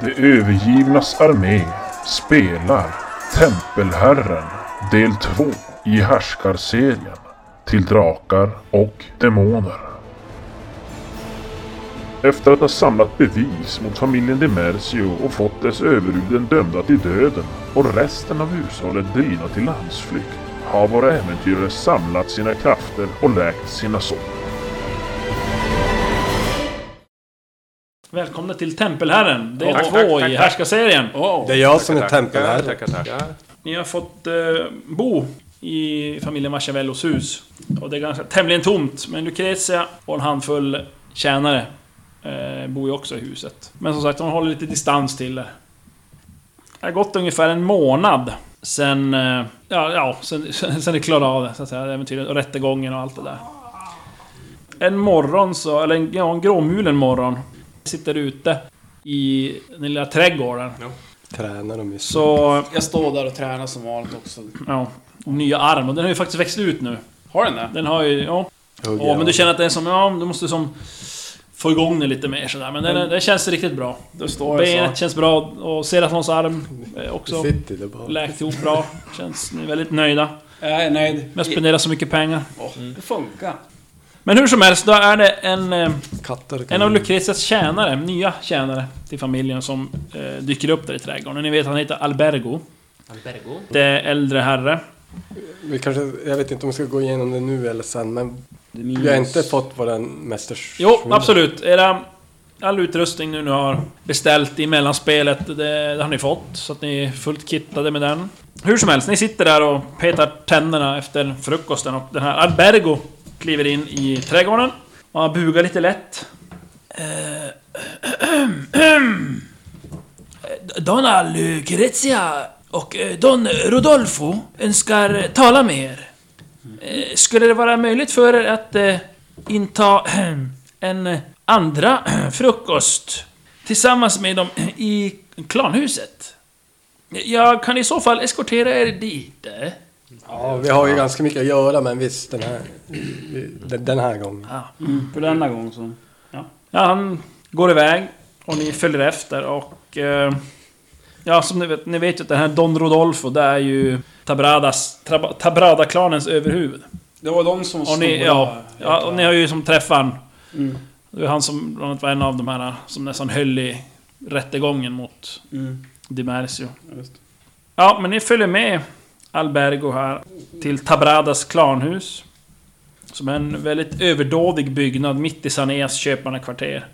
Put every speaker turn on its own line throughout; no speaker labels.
De övergivnas armé spelar Tempelherren del 2 i härskarserien till drakar och demoner. Efter att ha samlat bevis mot familjen Demercio och fått dess överhuvuden dömda till döden och resten av hushållet drivna till landsflykt har våra äventyrare samlat sina krafter och läkt sina sår.
Välkomna till Tempelherren, del
Tack,
två
tack, tack,
i
tack.
härskarserien.
Oh,
Det är jag som är
tackar,
tempelherre.
Tackar, tackar.
Ni har fått eh, bo i familjen Machiavellos hus. Och det är ganska tämligen tomt, men Lucrezia och en handfull tjänare eh, bor ju också i huset. Men som sagt, de håller lite distans till det. Det har gått ungefär en månad sen... Eh, ja, ja sen, sen, sen det klarade av det, så att säga. Äventyret och rättegången och allt det där. En morgon så, eller en, ja, en gråmulen morgon. Sitter ute i den lilla trädgården.
Tränar de ju.
Så
Jag står där och tränar som vanligt också.
Ja. Och nya arm, och den har ju faktiskt växt ut nu.
Har den det?
Den har ju, ja.
Hugger
ja men
av.
du känner att det är som, ja, du måste som... Få igång den lite mer sådär, men den, den känns riktigt bra.
Då står jag
Benet
så.
känns bra, och Serafons arm eh, också.
Sitt i det bara.
Läkt ihop bra. Känns, ni är väldigt nöjda.
Jag är nöjd.
Med att spendera så mycket pengar.
Åh, Det funkar.
Men hur som helst, då är det en... eh,
Katter kan
En av
ju-
Lucrezias tjänare, nya tjänare till familjen som eh, dyker upp där i trädgården. Ni vet, han heter Albergo.
Albergo.
Det är äldre herre.
Vi kanske, jag vet inte om vi ska gå igenom det nu eller sen, men vi har inte fått våran mästers...
Jo, absolut. Era, all utrustning nu ni har beställt i mellanspelet, det, det har ni fått. Så att ni är fullt kittade med den. Hur som helst, ni sitter där och petar tänderna efter frukosten och den här Albergo kliver in i trädgården. Och han bugar lite lätt. Eh, Donna Lucrezia och eh, Don Rodolfo önskar tala med er. Eh, Skulle det vara möjligt för er att eh, inta en eh, andra frukost tillsammans med dem i klanhuset? Jag kan i så fall eskortera er dit. eh.
Ja, vi har ju ganska mycket att göra, men visst, den här, den, den här gången.
För denna gång så.
Ja, han går iväg och ni följer efter och... Eh, ja, som ni vet, ni vet ju att den här Don Rodolfo, det är ju Tabradas, Traba- Tabrada-klanens överhuvud.
Det var de som Mm.
Och ni, ja, ja, och ni har ju som träffat han. Det var han som bland annat var en av de här som nästan höll i rättegången mot
Mm.
Dimercio.
Just.
Ja, men ni följer med Albergo här till Tabradas klanhus. Som är en väldigt överdådig byggnad mitt i Saneas köparnakvarter.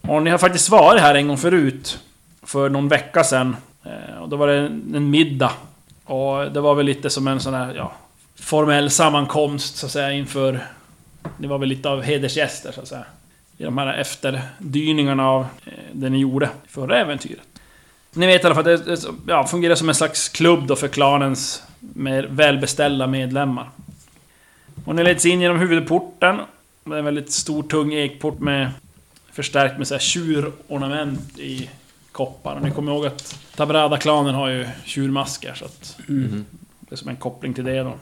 Och ni har faktiskt varit här en gång förut. För någon vecka sedan. Eh, Och då var det en en middag. Och det var väl lite som en sån här, ja... Formell sammankomst så att säga inför... Det var väl lite av hedersgäster så att säga. I de här efterdyningarna av eh, det ni gjorde i förra äventyret. Ni vet i alla fall att det, det ja, fungerar som en slags klubb då för klanens mer välbeställda medlemmar. Och ni leds in genom huvudporten. Det är en väldigt stor tung ekport med förstärkt med så här tjurornament i koppar. Och ni kommer ihåg att Tabrada-klanen har ju tjurmasker så att... Det är som en koppling till det då.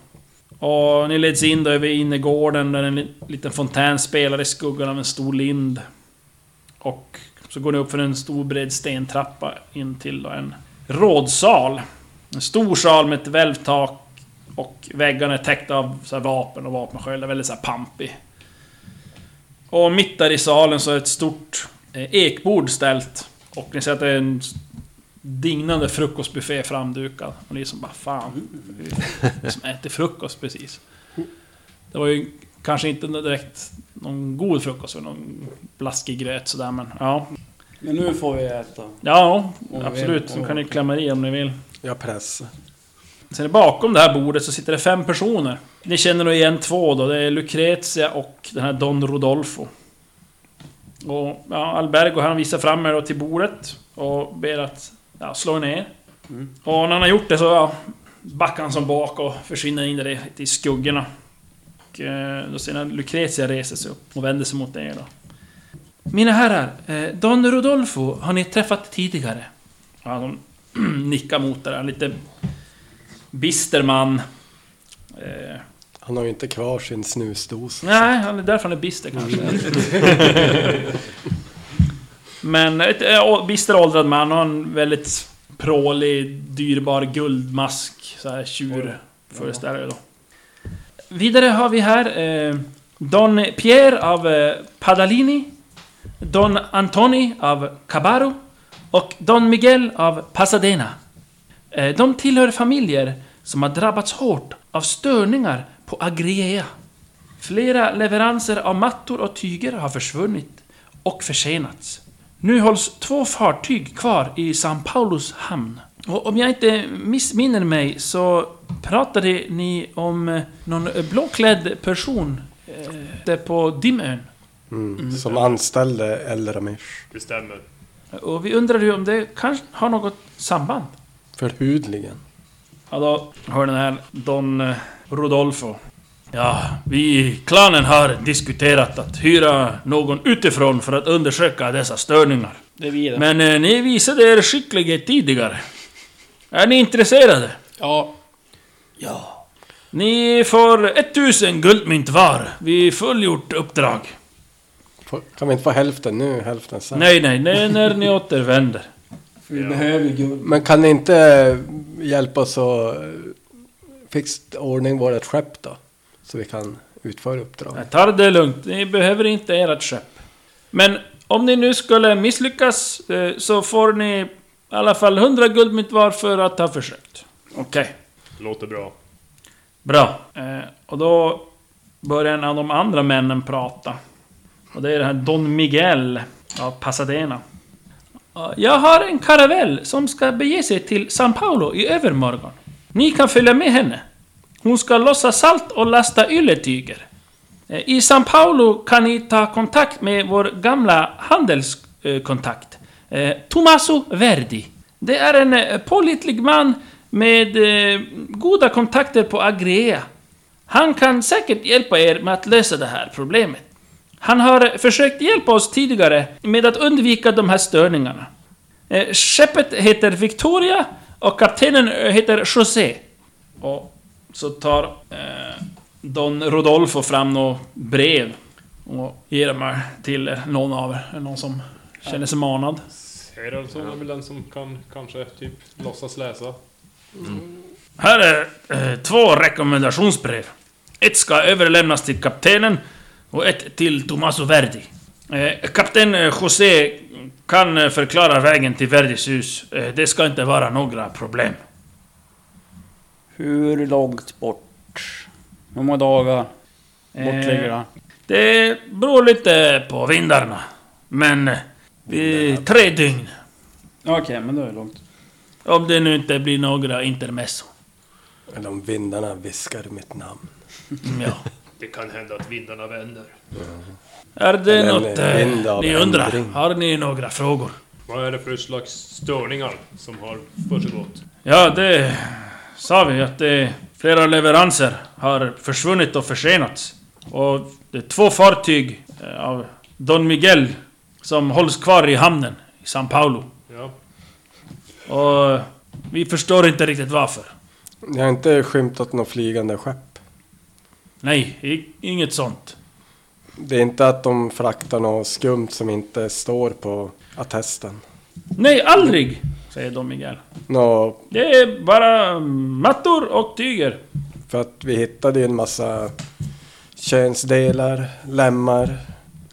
Och ni leds in då över innergården där en li- liten fontän spelar i skuggan av en stor lind. Och så går ni upp för en stor bred stentrappa in till då en rådsal. En stor sal med ett välvt tak och väggarna är täckta av så här vapen och vapensköld. Det är Väldigt så här pampig. Och mitt där i salen så är ett stort eh, ekbord ställt. Och ni ser att det är en s- dignande frukostbuffé framdukad. Och ni är som bara fan. Som äter frukost precis. Det var ju kanske inte direkt någon god frukost. för Någon blaskig gröt sådär men ja.
Men nu får vi äta.
Ja,
Om vi
absolut.
vill.
Så kan ni klämma i om ni vill.
Jag pressar.
Sen bakom det här bordet så sitter det fem personer. Ni känner nog igen två då. Det är Lucrezia och den här Don Rodolfo. Och ja, Albergo han visar fram er då till bordet och ber att ja, slå er ner. Och när han har gjort det så ja, backar han som bak och försvinner in där i- i skuggorna. Och eh, då ser ni att Lucrezia reser sig upp och vänder sig mot er då. Mina herrar, eh, Don Rodolfo har ni träffat tidigare? Ja, de nickar mot det där, lite bister man. Eh,
Han har ju inte kvar sin snusdos.
nej, han är därför han är bister kanske. Men ett eh, å- bister åldrad man har en väldigt prålig, dyrbar guldmask. Så här tjur, föreställer jag då. Vidare har vi här eh, Don Pierre av eh, Padalini. Don Antoni av Cabarro. Och Don Miguel av Pasadena. Eh, de tillhör familjer som har drabbats hårt av störningar på Agriea. Flera leveranser av mattor och tyger har försvunnit och försenats. Nu hålls två fartyg kvar i São Paulos hamn. Och om jag inte missminner mig så pratade ni om eh, någon eh, blåklädd person eh, där på Dimön.
Mm. Som anställde El Ramesh.
Det stämmer.
Och vi undrar ju om det kanske har något samband?
Förhudligen.
Ja, då hör den här Don eh, Rodolfo. Ja, vi i klanen har diskuterat att hyra någon utifrån för att undersöka dessa störningar.
Det är vi det.
Men eh, ni visade er skicklighet tidigare. Är ni intresserade?
Ja.
Ni får 1000 guldmynt var vid fullgjort uppdrag.
Får- Kan vi inte få hälften nu, hälften sen?
Nej, nej, nej, när ni återvänder.
För vi behöver ju guld.
Men kan ni inte hjälpa oss att eh, fixa ordning vårt skepp då? Så vi kan utföra uppdraget.
Jag tar det lugnt, ni behöver inte ert skepp. Men om ni nu skulle misslyckas eh, så får ni i alla fall 100 guldmynt var för att ha försökt. Okej.
Låter bra.
Bra. Eh, och då börjar en av de andra männen prata. Och det är den här Don Miguel av Pasadena. Eh, Jag har en karavell som ska bege sig till São Paulo i övermorgon. Ni kan följa med henne. Hon ska lossa salt och lasta ylletyger. Eh, I São Paulo kan ni ta kontakt med vår gamla handelskontakt. Eh, Tommaso Verdi. Det är en eh, pålitlig man med eh, goda kontakter på Agrea. Han kan säkert hjälpa er med att lösa det här problemet. Han har försökt hjälpa oss tidigare med att undvika de här störningarna. Eh, Skeppet heter Victoria och kaptenen eh, heter José. Och så tar eh, Don Rodolfo fram något brev och ger dem här till er, någon av er, någon som känner sig manad.
Heraldsson är väl den som kan kanske typ låtsas läsa.
Här är eh, två rekommendationsbrev. Ett ska överlämnas till kaptenen och ett till Tommaso Verdi. Eh, kapten eh, José kan eh, förklara vägen till Verdis hus. Eh, det ska inte vara några problem.
Hur långt bort? Hur många dagar bort ligger det?
Det beror lite på vindarna. Men eh, vi, tre dygn.
Okej, men då är det långt.
Om det nu inte blir några intermezzo.
Eller om vindarna viskar mitt namn.
Mm, Ja.
Det kan hända att vindarna vänder.
Är det
Eller
något
vind
eh,
av
ni undrar?
ändring.
Har ni några frågor?
Vad är det för slags störningar som har försiggått?
Ja, det sa vi att det, flera leveranser har försvunnit och försenats. Och det är två fartyg eh, av Don Miguel som hålls kvar i hamnen i São Paulo.
Ja,
Och vi förstår inte riktigt varför.
Ni har inte skymtat något flygande skepp?
Nej, i- inget sånt.
Det är inte att de fraktar något skumt som inte står på attesten?
Nej, aldrig! Säger Don Miguel.
Nå,
Det är bara mattor och tyger.
för att vi hittade ju en massa könsdelar, lemmar,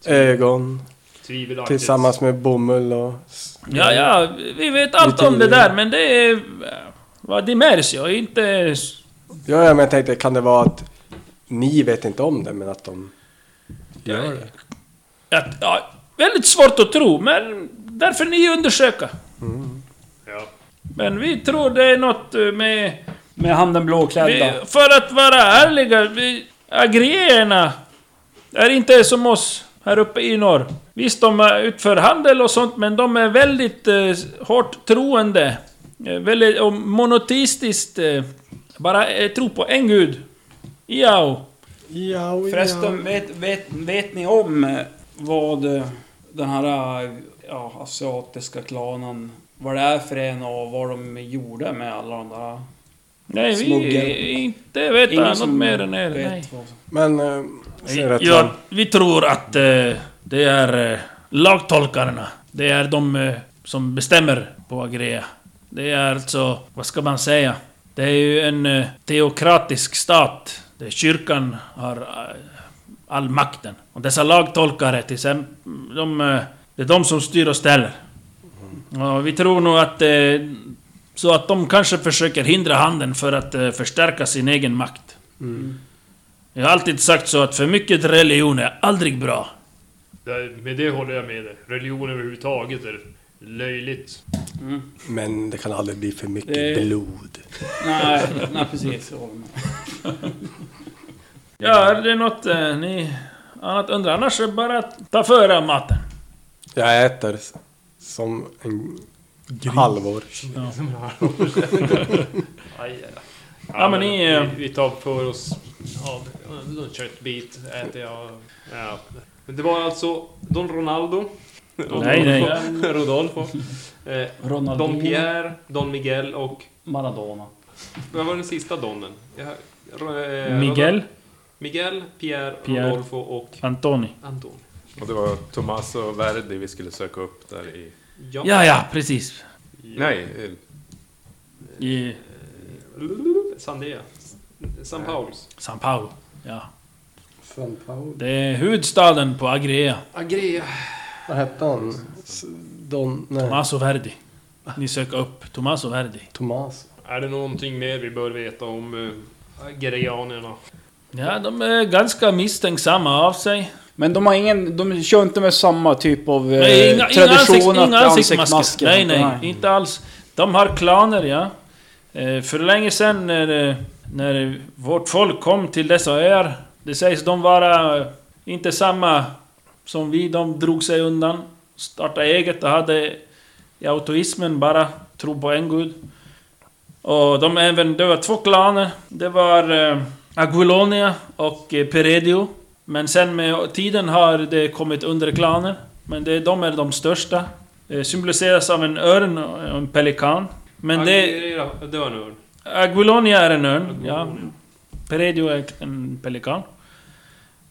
ögon
tvivelaktigt.
tillsammans med bomull och... s-
Ja, ja, vi vet allt om det där, men det är... eh, Vad Dimersio, inte...
Ja, ja, men jag tänkte, kan det vara att ni vet inte om det, men att de gör det?
Att, ja, väldigt svårt att tro, men därför ni undersöka.
Ja.
Men vi tror det är något eh, med...
Med han den
Vi,
blåklädda.
för att vara ärliga, vi, agrierna är inte som oss här uppe i norr. Visst, de eh, utför handel och sånt, men de är väldigt eh, hårt troende. Eh, väldigt och monoteistiskt. Eh, bara eh, tro på en gud. Iao.
Ja, och ja.
Förresten, vet, vet, vet ni om eh, vad eh, den här eh, ja, asiatiska klanen, vad det är för en och vad de gjorde med alla de där?
Nej, vi
Smuggel.
inte vet något
som
mer än er.
vet
Nej.
vad som-
Men... Eh, ser rätt
Ja,
långt.
vi tror att eh, det är eh, lagtolkarna. Det är de eh, som bestämmer på Agrea. Det är alltså, vad ska man säga? Det är ju en eh, teokratisk stat där kyrkan har eh, all makten. Och dessa lagtolkare, till exempel, de, eh, det är de som styr och ställer. Ja, vi tror nog att... Eh, så att de kanske försöker hindra handeln för att eh, förstärka sin egen makt. Jag har alltid sagt så att för mycket religion är aldrig bra.
Där, med det håller jag med dig. Religion överhuvudtaget är löjligt.
Men det kan aldrig bli för mycket
Det-
blod.
Nej, nej precis. Jag håller med.
Ja, är det något eh, ni annat undrar? Annars är det bara att ta för er maten.
Jag äter s- som en halvor.
Aj, aj, aj.
Ja, men ni, eh,
vi, vi tar för oss av någon köttbit. Äter jag. Ja.
Men det var alltså Don Ronaldo.
Nej, nej.
Rodolfo. Eh, Don
Ronaldinho,
Pierre, Don Miguel och...
Maradona.
Vad var den sista donen? Jag, eh,
Miguel,
Miguel, Pierre,
Pierre.
Rodolfo och
Antoni.
Anton.
Och det var Tommaso Verdi vi skulle söka upp där i...
Ja.
Ja, ja, precis.
Nej, eh,
I
Sandia. San Pauls.
São Paulo. Ja.
San Paolo.
Det är huvudstaden på Agrea.
Agria.
Vad hette han? S- Don... Nej.
Tommaso Verdi. Ni söker upp Tommaso Verdi.
Tomas.
Är det någonting mer vi bör veta om
eh,
uh, gerianerna?
Ja, de är ganska misstänksamma av sig.
Men de har ingen, de kör inte med samma typ av eh,
Nej, inga, inga, ansikts,
tradition
inga
att
ansiktsmasker. Nej, nej,
nej.
inte alls. De har klaner, ja. Eh, För länge sedan när, eh, när vårt folk kom till dessa öar, det sägs de vara eh, inte samma som vi. De drog sig undan, startade eget och hade i autoismen bara tro på en gud. Och de även, det var två klaner. Det var eh, Aguilonia och eh, Peredio. Men sen med tiden har det kommit underklaner. Men det, de är de största. Eh, symboliseras av en örn och en pelikan. Men det...
Agria, det var en örn.
Aguilonia är en örn, ja. Peredio är en pelikan.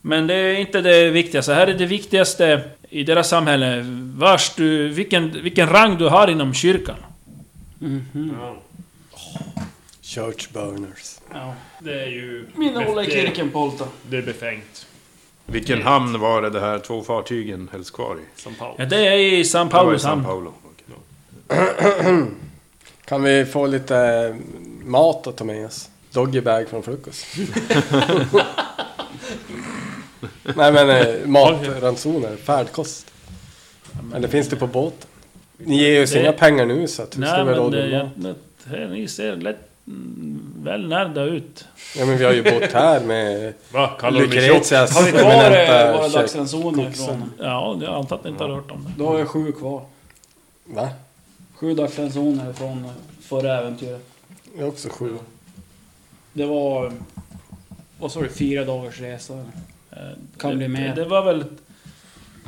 Men det är inte det viktigaste. Här är det viktigaste i deras samhälle vars du, vilken, vilken rang du har inom kyrkan. Mm.
Ja.
Church Burners.
Ja.
Det är ju...
Mina hålla i
det-
kirken på Holta.
Det är befängt.
vilken hamn var det de här två fartygen hölls kvar i?
San Paul.
Ja, det är i São
Det var i
Paulos
San
hamn.
Paulo. Okej.
Kan vi få lite mat att ta med oss? Doggybag från frukost. Nej men eh, matransoner, färdkost. Eller finns det på båten? Ni ger oss
Det-
inga pengar nu så att hur ska
Nej
vi ha
men
råd
det,
med mat?
jag, det, ni ser lätt mm, väl närda ut.
Ja men vi har ju bott här med
Va? Kallar du mig tjock?
Lucrezias
Har vi kvar eh,
eminenta
våra
kök.
dagsransoner ifrån?
Ja, jag antar att ni inte har hört om det.
Då har jag sju kvar.
Va?
Sju dagsransoner från eh, förra äventyret.
Jag har också sju.
Det var... Vad sa du? Fyra dagars resa? eller?
Eh,
Kan
det,
bli mer.
Det, det var väl...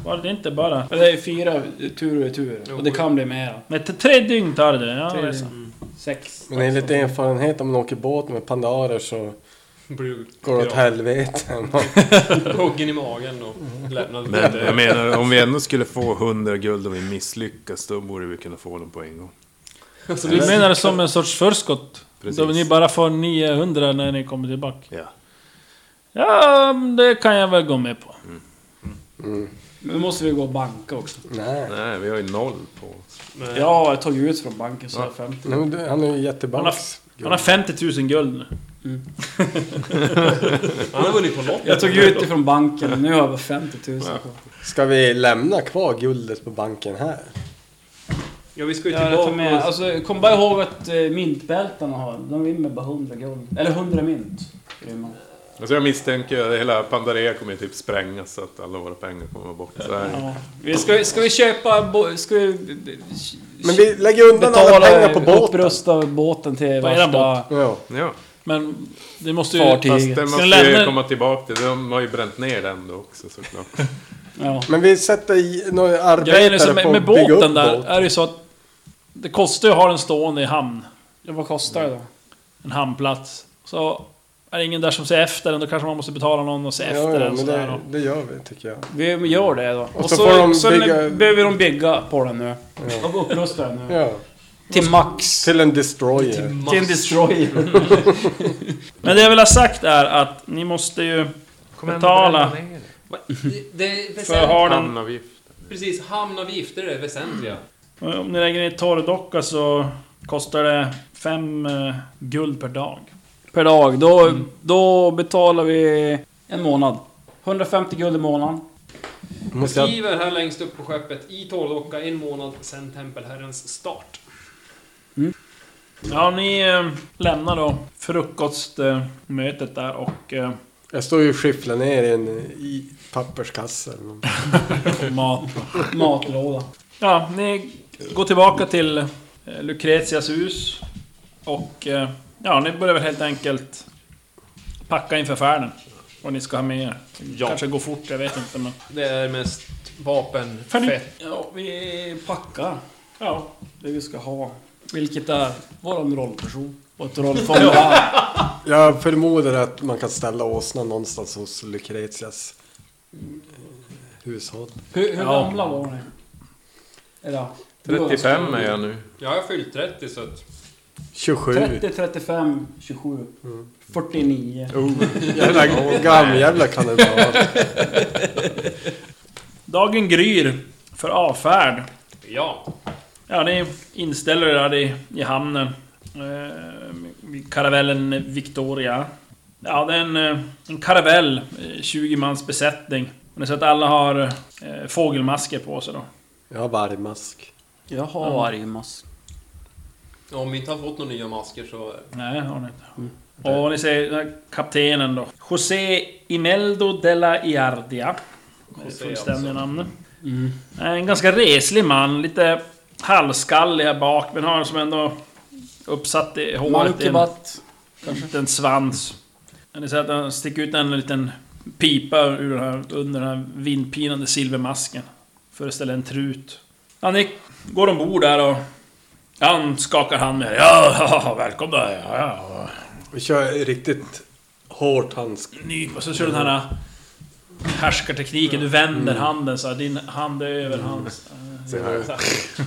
Var det inte bara...
Men Det är fyra tur och retur. Och det kan bli mer.
Men t- tre dygn tar det, ja.
Tre
resan.
dygn. Sex.
Men enligt erfarenhet om man åker båt med pandarer så
Blir
går det åt
Ja.
helvete.
huggen i magen och
Alltså-
lämnade.
Men jag menar, om vi ändå skulle få 100 guld och vi misslyckas, då borde vi kunna få dem på en gång.
Du menar som en sorts förskott?
Precis.
Då ni bara får 900 när ni kommer tillbaka?
Ja.
Ja, det kan jag väl gå med på.
Men nu måste vi gå och banka också.
Nej.
Nej, vi har ju noll på...
Ja, jag har tagit ut från banken så jag har 50.
Nej, men du- Han är ju
Han har,
jätteballs.
han har 50 000 guld nu.
Han har vunnit på lopp.
Jag tog ut ifrån banken, nu har jag bara 50 000 kvar.
Ska vi lämna kvar guldet på banken här?
Ja, vi ska ju
Ja, jag tar med.
tillbaka. och-
Alltså, kom bara ihåg att eh, myntbältena har, de vinner bara 100 guld. Eller 100 mynt. rymmer.
Alltså jag misstänker att hela Pandarea kommer ju typ sprängas så att alla våra pengar kommer bort. Så här.
Ja. Vi Ska, ska vi köpa... bo- Ska vi...
Men vi lägger undan alla pengar på båten.
upprusta båten till
Vad är den
värsta...
Ja.
Ja,
Men det måste ju...
Fartyget.
fast den
Ska jag
måste ju
lämna-
komma tillbaka till. De har ju bränt ner den då också såklart.
Ja.
Men vi sätter i några
Grejen är
arbetare
så
på
med,
att
med
bygga upp
båten där,
båten.
är det ju så att... Det kostar ju att ha den stående i hamn.
ja. Vad kostar det då?
En hamnplats. Så Är det ingen där som ser efter den, då kanske man måste betala någon och se efter
ja, ja,
den.
men
sådär
det,
då.
det gör vi tycker jag.
Vi gör det då. Och,
så
så,
får de
så
bygga-
behöver de bygga på den nu. Och upprusta den nu.
Ja.
Till max.
Till en destroyer.
Till en destroyer.
Men det jag vill ha sagt är att ni måste ju betala
Det är
för
väsentligt.
har den...
Precis, hamnavgifter är det väsentliga.
Om ni lägger ner torrdocka så kostar det fem eh, guld per dag.
Per Mm. dag. Då, då betalar vi en månad. 150 guld i månaden.
Måste jag...
Skriver här längst upp på skeppet, i torrdocka en månad sen tempelherrens start.
Ja, ni eh, lämnar då frukostmötet där och eh,
jag står ju och skyfflar ner i en i papperskasse. eller något.
mat.
Matlåda.
Ja, ni går tillbaka till eh, Lucretias hus. Och eh, ja, ni börjar väl helt enkelt packa inför färden. Vad ni ska ha med er. Kanske gå fort, jag vet inte men...
Det är mest vapen, fett.
Ja, vi packar. Ja. Det vi ska ha. Vilket är våran rollperson. Och ett rollfång.
Jag förmodar att man kan ställa åsnan någonstans hos Lucretias mm, hushåll.
Hur, hur gamla var ni? Eller, du var
35 är jag nu.
Jag har fyllt 30 så att...
27.
30, 35, 27, 49.
Oh, Jävla gamla kan det vara.
Dagen gryr för avfärd.
Ja.
Ja, ni inställer er där i, i hamnen. Eh, vid karavellen Victoria. Ja, det är en, eh, en karavell. eh, 20 mans besättning. Ni ser att alla har eh, fågelmasker på sig då.
Jag har vargmask.
Jag har vargmask.
Om vi inte har fått några nya masker så...
Nej, har ni inte. Och ni ser den här kaptenen då. José Imeldo de la Iardia.
José
Fullständiga
alltså.
namnet. En ganska reslig man. Lite halvskallig här bak, men har som ändå uppsatt i håret i en
Mankebatt.
liten svans. Men Ni ser att han sticker ut en liten pipa ur den här, under den här vindpinande silvermasken. Föreställer en trut. Ja, ni går ombord där och... Han skakar hand med er. Ja, välkomna! Ja, ja.
Vi kör riktigt hårt handsk.
nyp och så kör du den här härskartekniken. Du vänder handen så här, din hand är över hans.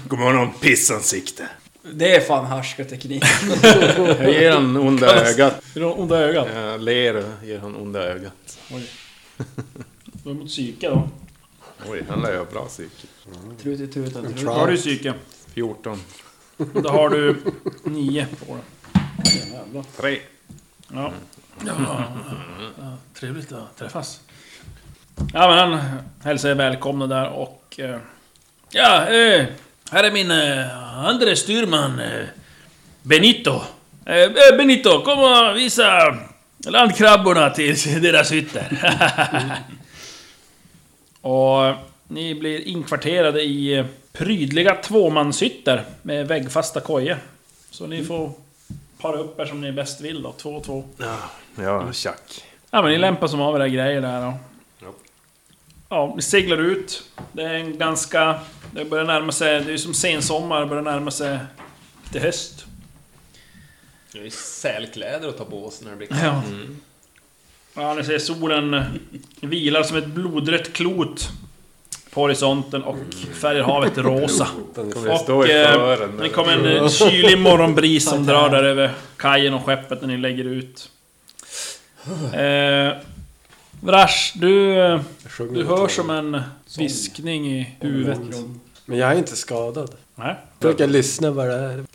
God morgon pissansikte.
Det är fan härskarteknik.
Jag ger han onda ögat.
Är det onda ögat?
Jag ler och ger han onda ögat.
Du är mot psyke då.
Oj, han lär ju ha bra psyke.
Trut i tutan. trut.
Då har du psyke.
14.
Då har du nio på det.
3.
Ja. ja. ja, Trevligt att träffas. Ja men han hälsar er välkomna där och... eh, Ja, eh, här är min eh, andre styrman eh, Benito. Eh, eh, Benito, kom och visa landkrabborna till deras hytter. och ni blir inkvarterade i prydliga tvåmanshytter med väggfasta kojor. Så ni får para upp er som ni bäst vill då, två och två.
Ja, tjack.
Ja men ni lämpar som av era grejer där då. Ja, vi seglar ut. Det är en ganska... Det börjar närma sig... Det är ju som sensommar, det börjar närma sig till höst.
Det är ju sälkläder att ta på oss när det blir kallt.
Ja. Mm. Ja, ni ser solen vilar som ett blodrött klot på horisonten och färgar havet rosa.
Kommer jag stå
Och
i
eh,
fören?
det kommer en eh, kylig morgonbris som drar där över kajen och skeppet när ni lägger ut. Eh, Vrash, du... eh,
Jag sjunger
Du
åt
hör
honom.
som en viskning i huvudet.
Men jag är inte skadad.
Nej.
Jag försöker lyssna vad det är.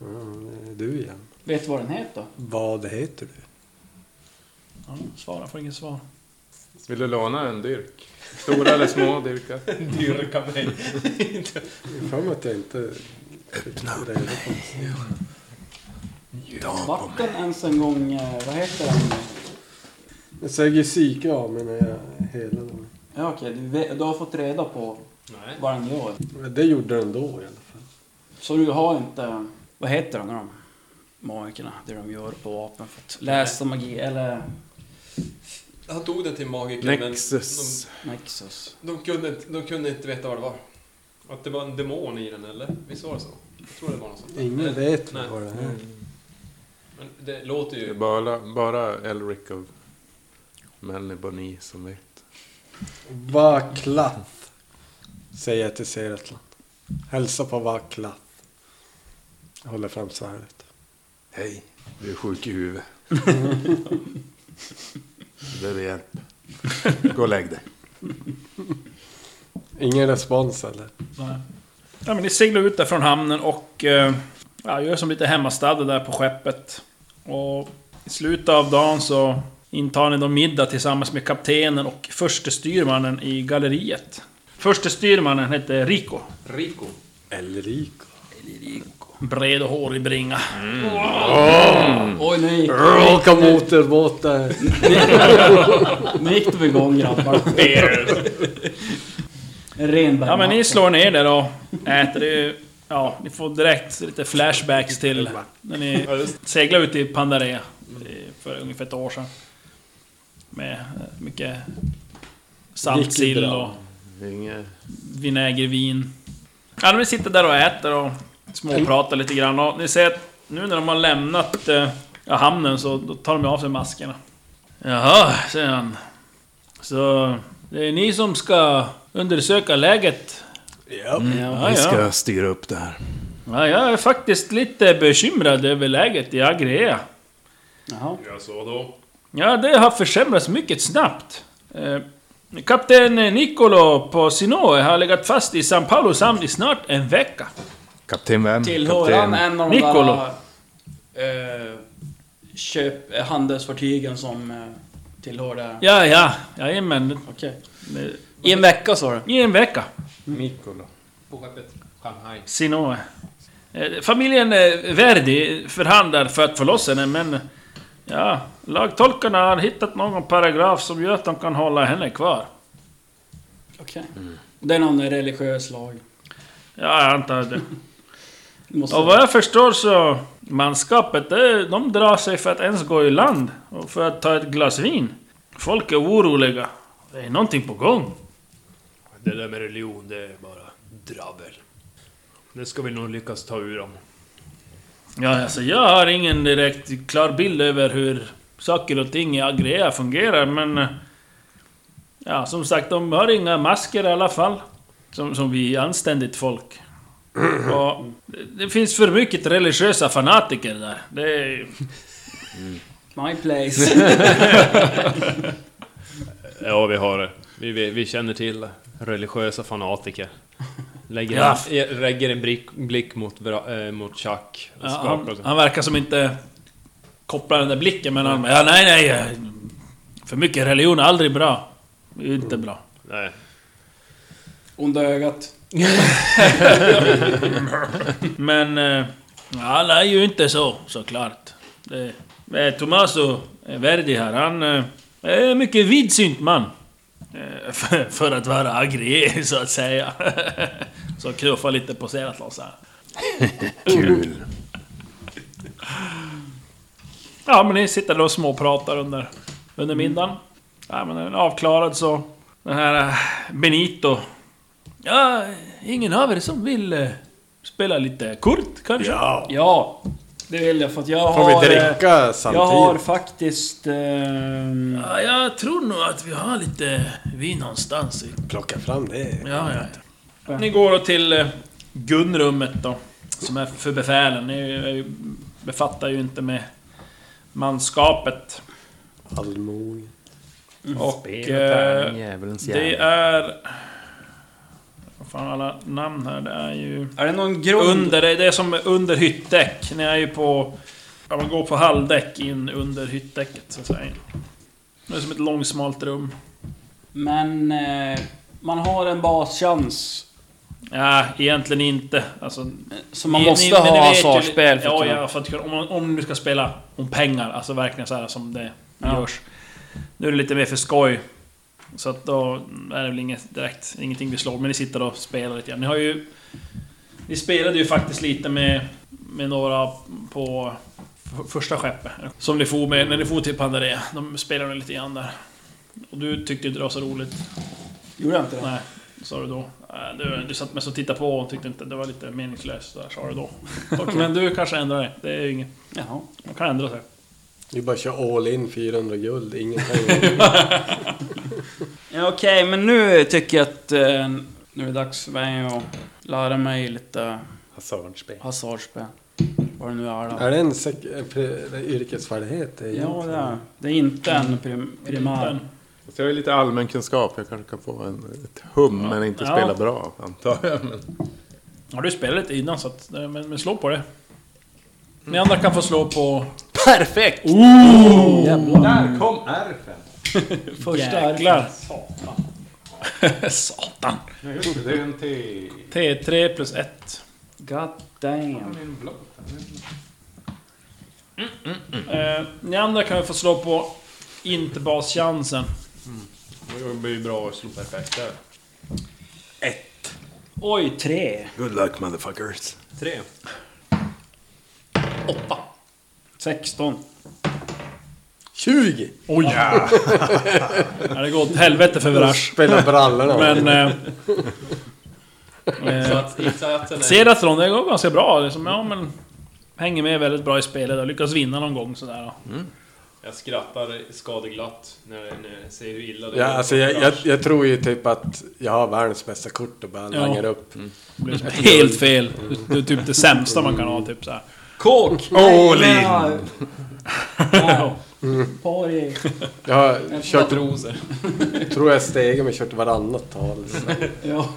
Mm, det är Du igen.
Vet du vad den heter?
Vad heter du?
Ja, svara, får inget svar.
Vill du låna en dyrk? Stora eller små dyrkar?
Dyrka mig.
Jag har för mig att jag inte fick reda på det.
Vart den ens en gång... eh, Vad heter den?
Jag säger psyke av mig när jag helade mig.
Ja okej, du, vet- du har fått reda på
Nej.
vad den gör.
Men Det gjorde den då i alla fall.
Så du har inte... Vad heter de, de magikerna? Det de gör på vapen för att läsa magi eller
Han tog den till magiker men
Nexus.
Nexus.
de, de, kunde, inte- de kunde inte veta vad det var. Att det var en demon i den eller? Visst var det så? Jag tror det var något sånt. där.
Ingen
Eller-
vet
Nej.
vad det är.
Men det låter
Det är
ju...
bara, bara Elric och Melniboni som vet.
Vaklat. Säger jag till Seratlan. Hälsa på Vaklat. Jag håller fram svärdet.
Hej, du är sjuk i huvudet. Du behöver hjälp. Gå och lägg dig.
Ingen respons eller?
Ja, men ni seglar ut där från hamnen och eh, ja, gör som lite hemmastadda där på skeppet. Och i slutet av dagen så intar ni då middag tillsammans med kaptenen och förste styrmannen i galleriet. Förste styrmannen hette Rico.
Rico.
Elrico.
Bred och hårig bringa.
Oj, nu gick,
Åka motorbåt där.
nu gick de igång grabbar. En ren
Ja men ni slår ner där och äter det ju... Ja, ni får direkt lite flashbacks till när ni seglade ut i Pandarea eh, för ungefär ett år sedan. Med eh, mycket saltsill
Mycket bra.
och vinägervin. Ja, de sitter där och äter och småpratar lite grann och ni ser att nu när de har lämnat eh, ja, hamnen så då tar de av sig maskerna. Jaha, säger han. Så det är ni som ska undersöka läget? Ja,
Vi
ja.
ska styra upp det här.
ja, jag är faktiskt lite bekymrad över läget i Agrea.
Jaha.
Jag sa då.
Ja, det har försämrats mycket snabbt. Eh, Kapten Nicolo på Sinoe har legat fast i São Paulos hamn i snart en vecka.
Kapten vem?
Tillhör han
Kapten
en av de
Niccolo.
där... Eh, köp, eh, handelsfartygen som eh, tillhör det här?
Ja, ja, jajamän.
Okej.
Det-
I en vecka sa du?
I en vecka.
Nicola.
På skeppet. Shanghai.
Sinoe. Eh, Familjen eh, Verdi förhandlar för att få loss henne, men... Ja, lagtolkarna har hittat någon paragraf som gör att de kan hålla henne kvar.
Okej. Det är någon religiös lag.
Ja, jag antar det.
Måste...
Och vad jag förstår så... Manskapet, det- de drar sig för att ens gå i land. Och för att ta ett glas vin. Folk är oroliga. Det är någonting på gång.
Det där med religion, det är bara dravel. Det ska vi nog lyckas ta ur dem.
Ja, alltså jag har ingen direkt klar bild över hur saker och ting i Agrea fungerar, men... eh, Ja, som sagt, de har inga masker i alla fall. Som, som vi anständigt folk. Och det, det finns för mycket religiösa fanatiker där. Det är...
My place.
Ja, vi har det. Vi, vi, vi känner till religiösa fanatiker. Lägger,
Ja.
en, eh, lägger en blick, blick mot, bra, eh, mot Chuck. Och
Ja,
skakar och
alltså.
han,
så.
han verkar som inte kopplar den där blicken, men han ja, nej, nej. eh, För mycket religion är aldrig bra. Det är ju inte bra.
Nej.
Onda ögat.
Men eh, alla är ju inte så, såklart. Det, eh, Tommaso Verdi här, han eh, är en mycket vidsynt man. Eh, för, för att vara agri, så att säga. så knuffar lite på Seratlas här.
Kul.
Ja, men ni sitter där och småpratar under, under middagen. Ja, men när den är avklarad så... Den här eh, Benito. Ja, ingen av er som vill eh, spela lite kort kanske? Ja.
Ja, det vill jag för att jag
Får
har...
vi
eh,
dricka
Jag har
samtidigt?
faktiskt... eh, ehm,
ja. Jag tror nog att vi har lite vin någonstans. i-
Plocka fram det.
Ja, ja, ja. Ni går då till eh, gunrummet då. Som är för befälen. Ni eh, befattar ju inte med manskapet.
Allmogen.
Och... eh,
Djävulens
Det är... Vad fan alla namn här, det är ju...
Är det någon grund?
Under, det är som under hyttdäck. Ni är ju på... Ja, man går på halvdäck in under hyttdäcket så att säga. Det är som ett långsmalt rum.
Men eh, man har en baschans.
Ja, egentligen inte. Alltså,
Så man
ni-
måste
ni- men ni
ha
vet ju-
hasardspel för att
Ja,
kunna...
ja, för att kunna... Om, man- om du ska spela om pengar, alltså verkligen så här som det görs. Nu är det lite mer för skoj. Så att då är det väl inget direkt, ingenting vi slår, men ni sitter och spelar lite grann. Ni har ju... Ni spelade ju faktiskt lite med, med några på f- första skeppet. Som ni for med, när ni for till Pandarea. De spelade lite grann där. Och du tyckte inte det var så roligt.
Gjorde jag inte det?
Nej, sa du då. Äh, Du, du satt mest och tittade på och tyckte inte det var lite meningslöst, där, sa du då. Men du kanske ändrar dig. Det är ju inget.
Jaha.
Man kan ändra sig.
Vi bara kör all in 400 guld, ingen pengar.
Ja, Okej, men nu tycker jag att eh, nu är det dags för mig att lära mig lite
Hasardspel.
hasardspel. Vad det nu är då.
är det en, sek- en pre- yrkesfärdighet?
Ja, det är, det är inte
Mm.
en prim, primär.
Fast jag har ju lite allmän kunskap. Jag kanske kan få en, ett hum, men inte
Ja.
spela bra, antar jag. Men
Ja, du spelade lite innan, så att, men, men slå på det. Ni andra kan få slå på...
Perfekt!
Där kom R5!
Första
Jäklar! Satan!
Ja, just det. Det är en till...
T3 plus 1.
God damn.
Eh, ni andra kan väl få slå på inte baschansen.
Det blir ju bra att slå perfekt där.
Oj, tre.
Good luck motherfuckers.
Tre.
Åtta. Sexton.
20!
Oj! Ja, det går åt helvete för Verash.
Spela brallorna.
Men... Eh, eh,
Insats, insatsen är...
Seratron, det går ganska bra. Liksom, ja, men, hänger med väldigt bra i spelet och lyckas vinna någon gång sådär. då.
Jag skrattar skadeglatt när när jag ser hur illa det
Ja,
är.
alltså jag, jag, jag tror ju typ att jag har världens bästa kort och bara
Ja.
langar upp.
Det blir liksom helt fel. Det är typ det sämsta man kan ha. Typ, såhär.
Kåk!
All in.
Ja. Party.
Jag har kört,
Matroser.
tror jag stegen men kört varannat tal. Så.
Ja.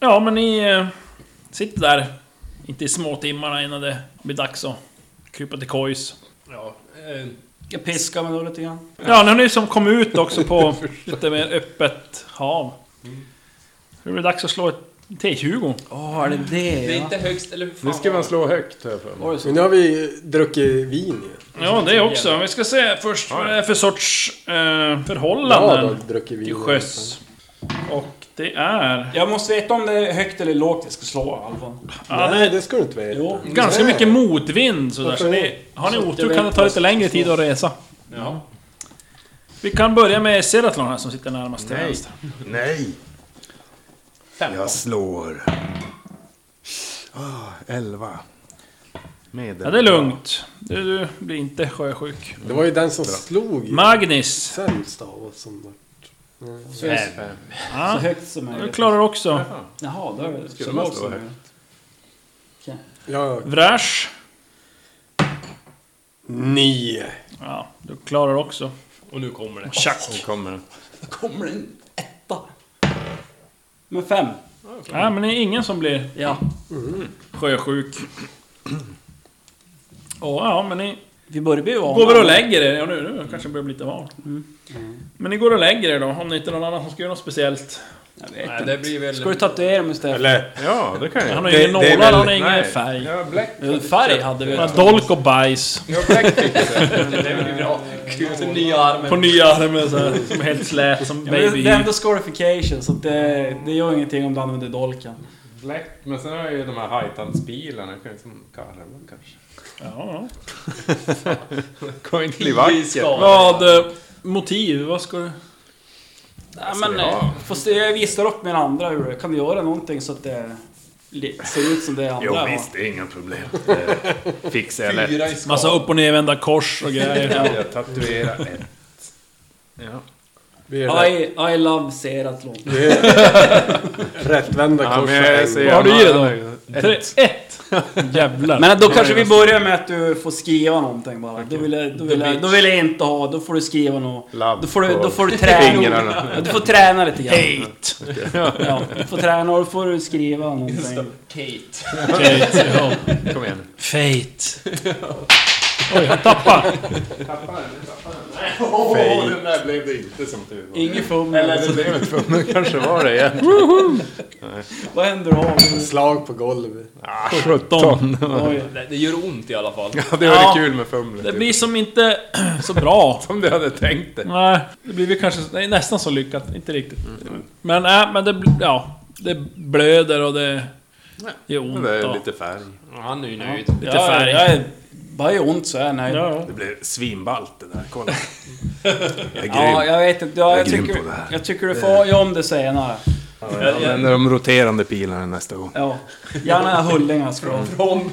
Ja, men ni eh, sitter där. Inte i småtimmarna innan det blir dags att krypa till kojs.
Ja. eh,
Jag piskar mig då lite grann.
Ja, nu har ni som kom ut också på lite mer öppet hav. Nu är det dags att slå ett T20.
Åh, är det det?
Det är
ja?
inte högst, eller hur fan
Nu ska
var
man
det?
slå högt, har jag för mig.
Var det så?
Men nu har vi ju druckit vin ju.
Ja, det också. Vi ska se först vad det är för sorts eh,
Ja,
förhållanden
då druckit vin.
till sjöss. Och det är...
Jag måste veta om det är högt eller lågt jag ska slå i alla fall.
Ja, det
Nej, det ska du inte veta.
Jo.
är ganska mycket motvind sådär.
Varför
Så
det?
ni, har ni
Så att
otur
jag
kan det
vet
ta
vad
lite
som
längre
ska
tid
stå.
att resa.
Ja.
Vi kan börja med Seratlon här som sitter närmast till vänster.
Nej! Jag slår... Ah, elva. Medel.
Ja, det är lugnt. Du, du blir inte sjösjuk.
Det var ju den som slog ju
Magnus,
sämst av oss som var.
Fem.
Så högt som
du
möjligt.
klarar också.
Jaha, då är det
Skulle
så
man
lågt
slå
som
högt?
möjligt.
Ja,
Vrash.
nio.
Ja, du klarar också.
Och nu kommer det.
Nu
Tjack.
kommer den.
Då kommer det en etta. Men fem.
Ja, men det är ingen som blir
Ja.
sjösjuk. Och, ja, men ni
Vi börjar bli vana.
går väl och lägger er. Ja, nu, nu kanske det börjar bli lite varmt. Men ni går och lägger er då, om det inte är någon annan som ska göra något speciellt.
Jag vet
Nej,
inte.
det blir väl...
Ska du tatuera mig Stefan?
Eller?
Ja, det kan jag.
Han har ju ingen
Det- det är
nålar, han
väl-
har ingen
nej.
färg.
Jag har bläck.
Jo, Färg hade vi.
Några dolk och bajs
Jag har bläck inte.
Det blir bra. Kul, den nya armen.
på nya armen så här, som är helt slät som
Ja, men
baby.
Det är ändå scorification så att det, det gör ingenting om du använder dolken.
Bläck. Men sen har jag ju de här hajtandsbilarna. Jag kan liksom karva kanske.
Ja, ja.
Kommer inte bli vacker.
Skador.
Vad... eh, Motiv, vad ska du...
Nej men, eh, fast jag visar upp min andra hur Kan du göra någonting så att det li- ser ut som det andra?
Jo,
va?
visst, det är inga problem. Det fixar jag lätt.
Fyra i skador.
Massa upp och nervända kors och grejer.
Jag tatuerar ett. Ja.
Vi är rätt,
I, I love Seratlon.
vi är rättvända
Ja,
kors.
men jag
Ja,
ser
Vad har du i dig då?
då?
Tre, ett! Jävlar.
Men då kanske vi börjar med att du får skriva någonting bara. Då, vill jag, då, vill jag, då vill jag inte ha, då får du skriva något.
Labb
Då får du,
på
då får du träna.
fingrarna.
Ja, Du får träna lite grann.
Eight!
Ja, du får träna och då får du skriva någonting.
Kate.
Eight, ja.
Kom igen nu.
Fate. Oj, han tappade.
Åh, den där blev det inte som tur var.
Inget fummel.
Det blev ett fummel, kanske var det igen.
Vad händer då?
Slag på golvet.
Sjutton.
Oj.
Det, det gör ont i alla fall.
Ja, det var
Ja.
det kul med fumlet.
Det blir som inte så bra.
Som du hade tänkt dig.
Nej, det blir väl kanske nej, nästan så lyckat. Inte riktigt. Men, äh, men det... bl- Ja. Det blöder och det... Det gör ont.
Det är
och-
lite färg.
Han är ju nöjd.
Lite färg.
Jag är Bara jag gör ont så är jag nöjd. Ja,
Ja,
Det blev svinballt det där, kolla. Jag är grym.
jag vet inte. Ja,
Jag är
jag,
grym
tycker,
på det här.
jag tycker du får göra om det senare.
Jag använder de roterande pilarna nästa gång.
Ja. Gärna Hullingar från.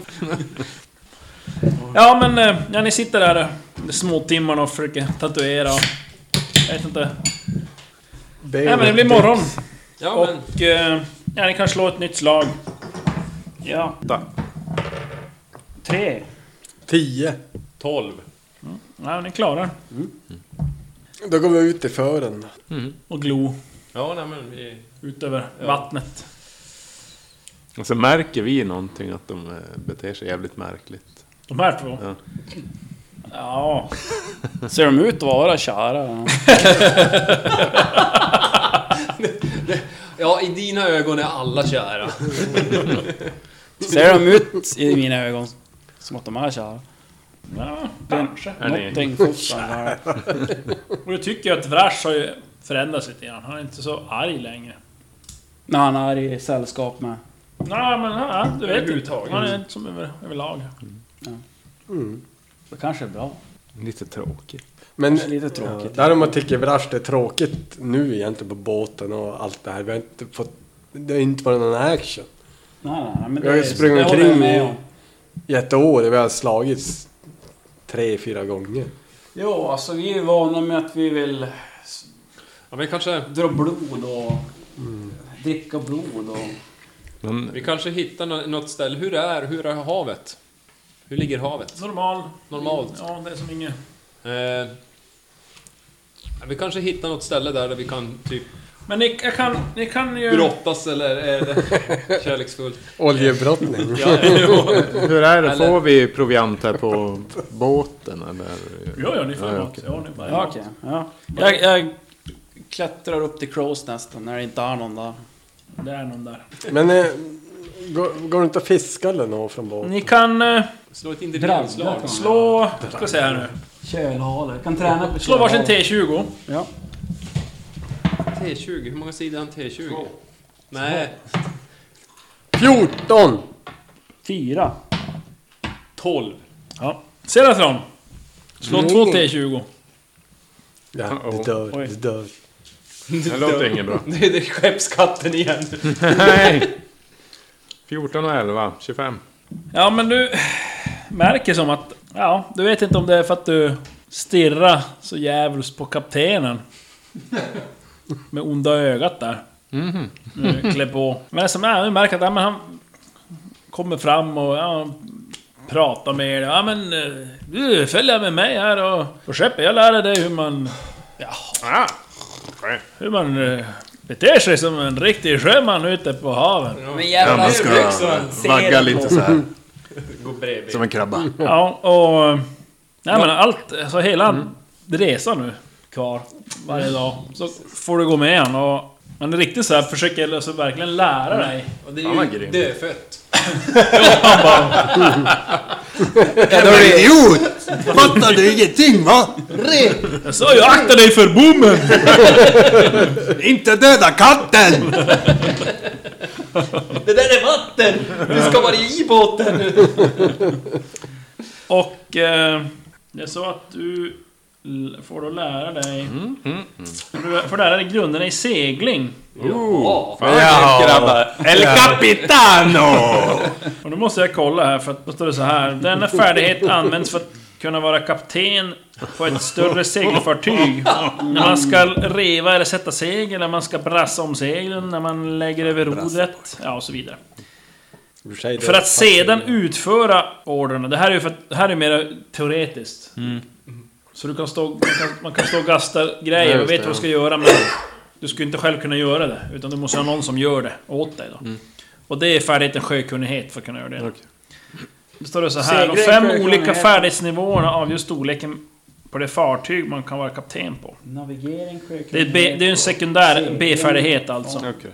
ja men eh, ja, ni sitter där eh, under småtimmarna och försöker tatuera. och- Jag vet inte. Nej men det blir morgon.
Ja men,
Och eh, ja, ni kan slå ett nytt slag. Ja.
Tre.
Tio.
12.
Ja, ni klarar.
Då går vi ut i fören.
Och glo
ja nej men vi...
ut över vattnet.
Och så märker vi någonting att de eh, beter sig jävligt märkligt.
De här två.
Ja.
Ja.
Ser de ut att vara kära?
Ja i dina ögon är alla kära.
Ser de ut i mina ögon som att de är kära?
ja.
Någonting fuffar
Och du tycker ju att Vrash har ju förändrats lite grann. Han är inte så arg längre.
När han är i sällskap med...
Nej men ja, du vet inte. Han är inte som över, överlag.
Det kanske är bra.
Lite tråkigt.
Men
Lite tråkigt.
Ja, däremot tycker Brash det är tråkigt nu egentligen på båten och allt det här. Vi har inte fått... Det har inte varit någon action.
Nej, nej, nej, men
Jag har ju
det-
sprungit
det håller
omkring
jag med
i-
om.
I ett år, vi har slagits tre, fyra gånger.
Jo, alltså vi är vana med att vi vill
Ja, vi, kanske,
dra blod och
Mm.
dricka blod och...
Men
Vi kanske hittar nå- något ställe. Hur är, hur är havet? Hur ligger havet?
Normal.
Normalt.
Ja, det är som inget...
Eh, vi kanske hittar något ställe där, där vi kan typ
Men ni, jag kan, ni kan ju...
brottas eller är det kärleksfullt?
Oljebrottning.
Ja, jo.
hur är det,
Eller-
får vi proviant här på båten eller?
Jo, ja, ni får
Ja,
ja,
okej.
ja, ni bara,
Ja, okej. Ja. Jag, jag klättrar upp till Crows nästan när det inte är någon där.
Det är någon där.
Men eh, går, går det inte att fiska eller något från båten?
Ni kan eh,
Slå ett individslag.
slå... Ska jag säga här nu.
Kölhale. Kan träna på
Slå varsin
kölhale.
T20.
Ja.
T20, hur många sidor har en T20? Nej,
14!
Fyra.
12.
Ja. Serafron. Slå
Mm.
två T20.
Ja,
Uh-oh.
det dör,
Oj.
det dör.
Det låter inget bra.
Det är det är skeppskatten igen.
Nej! 14 och 11, 25.
Ja, men du märker som att... Ja, du vet inte om det är för att du stirrar så djävulskt på kaptenen. Med onda ögat där. Mm. Klä på. Men det som är, du märker att ja, men han kommer fram och ja, pratar med er. Ja, men eh, du följer med mig här och på skeppet. Jag lär dig hur man...
Ah,
Hur man eh, beter sig som en riktig sjöman ute på haven.
Men
ja,
jävlar
man
hur
ska
högt så han ser
vagga
på.
lite så här.
Gå bredvid.
Som en krabba.
Ja, och... Nej men allt, alltså hela resan nu kvar varje dag. Så får du gå med han och... Men det är riktigt så här, försöker alltså verkligen lära dig.
Och det
Fan, vad
är ju
grym.
dödfött.
Jävla idiot!
Fattar du ingenting va?
Jag sa ju akta dig för bommen!
Inte döda katten!
Det där är vatten! Du ska vara i båten!
Och... Eh, jag sa att du l- får då lära dig... mm, Du- För där är det grunderna i segling.
Ja,
Jaha. El Capitano!
Och nu måste jag kolla här för att då står det så här. Denna färdighet används för att kunna vara kapten på ett större segelfartyg. När man ska reva eller sätta segel, när man ska brassa om seglen, när man lägger över rodret, ja och så vidare. För att sedan utföra orderna. Det här är ju för att, det här är mer teoretiskt. Så du kan stå, man kan, man kan stå och gasta grejer och vet vad du ska göra men du skulle inte själv kunna göra det. Utan du måste ha någon som gör det åt dig då. Och det är färdigheten sjökunnighet för att kunna göra det. Då står det så här. De
Segrar
fem
sjökunnighet.
olika färdighetsnivåerna avgör storleken på det fartyg man kan vara kapten på.
Navigering, sjökunnighet.
Det är, B, det är en sekundär
Segling.
B-färdighet alltså.
Okej.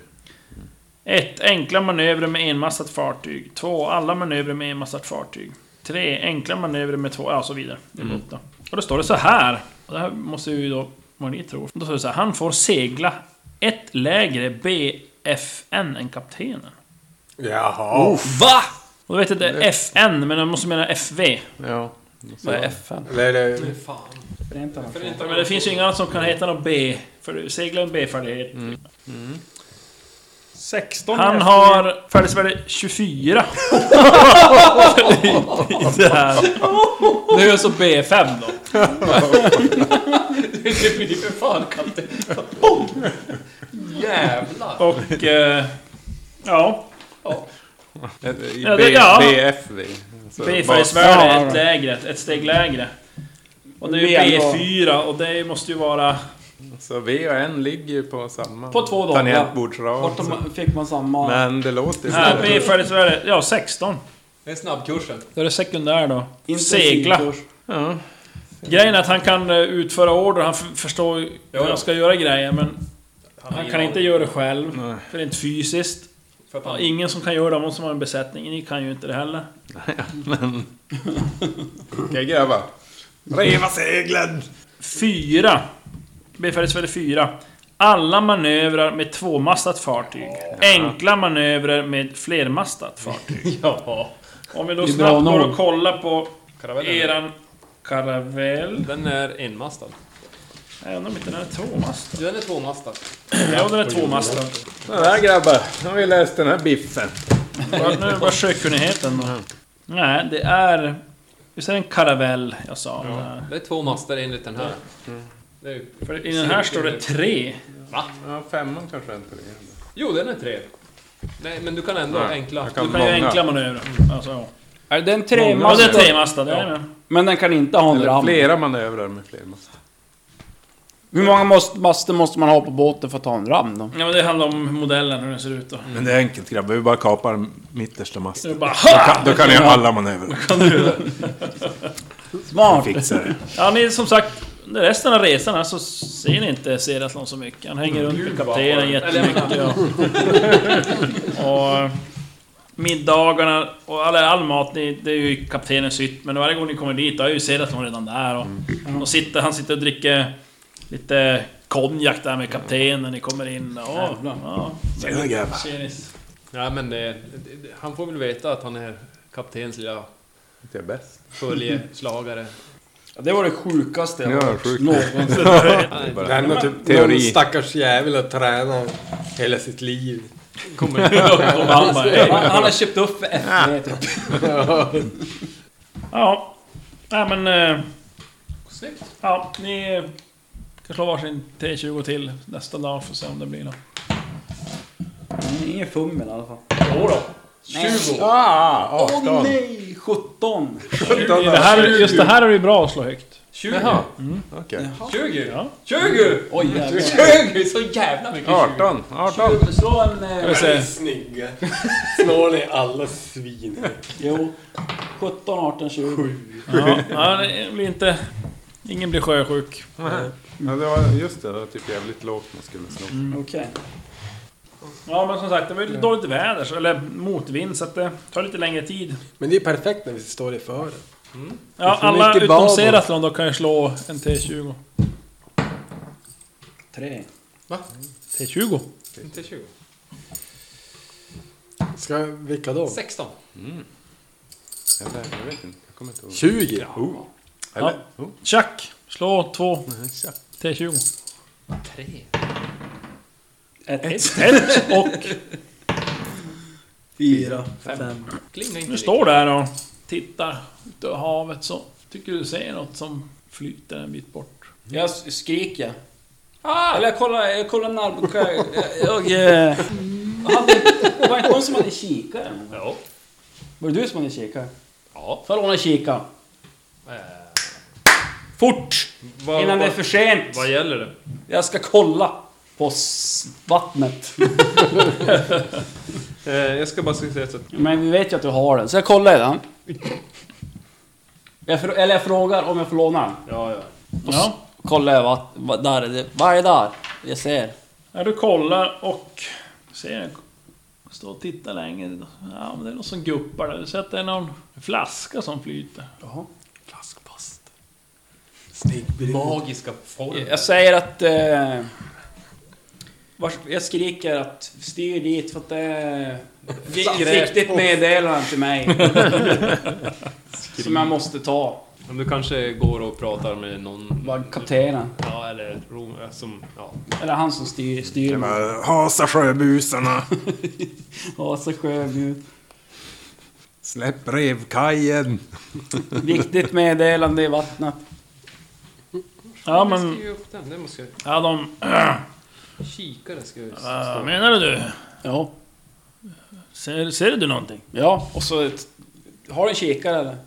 1. Enkla manövrer med enmastat fartyg. 2. Alla manövrer med enmastat fartyg. 3. Enkla manövrer med två... Ja, och så vidare. Det är åtta. Och då står det så här. Och det här måste ju då... Vad ni tror. Då står det så här. Han får segla ett lägre BFN än kaptenen.
Jaha.
Va? Och då vet jag inte FN, men jag måste mena FV.
Ja.
Vad är FN?
Eller, eller,
Fan.
Förenta Nationerna.
Förenta
Ja, men det finns ju inga som kan heta något B. För segla en B-färdighet.
Mm.
16
Han
efter-
har färdighetsvärde 24. I- i det här. Nu är jag så B5 då.
Det blir för fan kallt. Jävlar!
Och... Eh, ja.
I
Ja, det-
B,
ja.
BFV. Alltså,
B-färdighetsvärde
Ja,
är
ja.
ett lägre. Ett steg lägre. Och det är ju
Medel-
B4 och det måste ju vara...
bas- Så V och N ligger ju på samma
På två dagar.
tangentbordsrad. så-
Bortom fick man samma...
Men det låter ju
Här,
så.
B-färdighetsvärde... Ja, 16.
Det är snabbkursen.
Då är det sekundär då.
intensiv
Segla.
kurs.
Ja.
Grejen är att han kan eh, utföra order, han f- förstår ju hur
ja.
han ska göra grejer men han kan inte göra det själv.
Nej.
För rent fysiskt.
För att
Ja,
han,
ingen som kan göra det, om någon som har en besättning. Ni kan ju inte det heller.
Okej grabbar. Riva seglen!
Fyra. Befälsvärde fyra. Alla manövrar med tvåmastat fartyg. Enkla manövrar med flermastat fartyg. ja. Om vi då
Det är bra
snabbt går
nog.
och kollar på
Karavellen.
eran karavell.
den är enmastad.
Jag undrar om inte den är tvåmastad.
Den är tvåmastad.
Ja, den är tvåmastad.
Sådär grabbar, nu har vi läst den här biffen.
Vad- Nu var sjökunnigheten då. Nej, det är... Visst är det en karavell jag sa? Nej.
Det är två master enligt den här. Det är, ju-
För i den här står det tre.
Ja, femman kanske inte det.
jo, den är tre. Nej, men du kan ändå enkla.
Jag kan
Du kan ju
många.
enkla manövrer. Alltså, ja.
Är det en
ja, det är
tremastad?
tremastad. jajamän.
Men den kan inte ha en
Eller
ram.
flera manövrar med fler master.
Hur många måste- master måste man ha på båten för att ha en ram då?
Ja, men det handlar om modellen, hur den ser ut då.
Men det är enkelt grabbar, vi bara kapar mittersta
Det är
masten.
bara ha!
Då kan ni ha alla manövrar.
Smart!
Fixar det.
Ja, ni som sagt, under resten av resan här så ser ni inte Seraslon så mycket. Han hänger runt med kaptenen jättemycket. Och, och middagarna och all, all mat, ni, det är ju kaptenens hytt. Men varje gång ni kommer dit, då är ju Seraslon redan där. Och, och sitter, han sitter och dricker lite konjak där med kaptenen när ni kommer in. Och, ja,
Tjena grabbar.
tjenis.
Nej, men det, det- det- han får väl veta att han är kaptenens lilla
Det är bäst.
följeslagare.
Det var det sjukaste jag
Ja,
har hört
sjukt.
någonsin.
den och typ
Teori.
någon stackars jävel att träna hela sitt liv.
Och han bara, "Hej."
Han, han har köpt upp för FV typ.
typ. Ja, nej men... eh,
Snyggt.
Ja, ni eh, kan slå varsin T20 till nästa dag för att se om det blir något.
Mm, Ingen fummel i alla fall.
Jodå.
Ah,
Åh
18.
nej! 17!
Det här, just det här är ju bra att slå högt.
20! Jaha.
Mm.
Okej.
20!
Ja.
20!
Oj jävlar.
20! Så jävla mycket 20!
18, 18.
Slå en... Eh,
Snygga. Snår ni alla svin.
jo. 17, 18, 20.
Ja, ja, det blir inte... Ingen blir sjösjuk.
Ja, det var, just det, det var typ jävligt lågt man skulle slå.
Mm. Okej.
Ja, men som sagt, det var ju lite dåligt väder, så- eller motvind, så att det tar lite längre tid.
Men det är perfekt när vi står i fören.
Ja,
för
alla
mycket
utom
bad.
Seratlon då kan ju slå en T20.
3.
T20?
Inte 20.
Ska vilka då?
16.
Jävlar, jag vet inte, jag kommer inte ihåg.
20?
Oh.
Ja.
Eller? Oh.
Tjack! Slå två
tja.
T20.
3.
1.
Ett och...
4. 5.
Klinga inte
Nu står du här och tittar ut över havet så tycker du ser något som flyter en bit bort.
Jag s- skriker jag. Ah! Eller jag kollar, jag kollar när... Jag... jag, eh, hade, det var inte någon som hade kikare?
Ja.
Var det du som hade kikare?
Ja.
Får jag låna kikaren? Fort!
Vad,
Innan det är
vad,
för sent!
vad gäller det?
Jag ska kolla på s- vattnet.
Eh, jag ska bara säga så att
Men vi vet ju att du har den, så jag kollar i den. Jag frå- eller jag frågar om jag får låna den.
Ja, ja.
Och ja. kollar jag vad, vad, där är det. Vad är där? Jag ser.
Ja, du kollar och ser... Står och tittar länge. Ja, men det är något som guppar där. Du ser att det är någon flaska som flyter.
Flaskpost. Magiska former.
Jag säger att... Eh, vars, jag skriker att styr dit för att det är vi- viktigt meddelande till mig. som jag måste ta.
Om du kanske går och pratar med någon...
Bara kaptenen.
Ja, eller rom, som... Ja.
Eller han som styr, styr mig.
Hasa sjöbusarna!
Ja, så sjöbjud.
Släpp revkajen!
Viktigt meddelande i vattnet. Ja,
Jag
men...
skriver upp den, det måste jag...
Ja, de...
Kikare ska jag...
Vad menar du?
Ja,
Ser, ser du någonting?
ja och så... ett- Har du en kikare eller?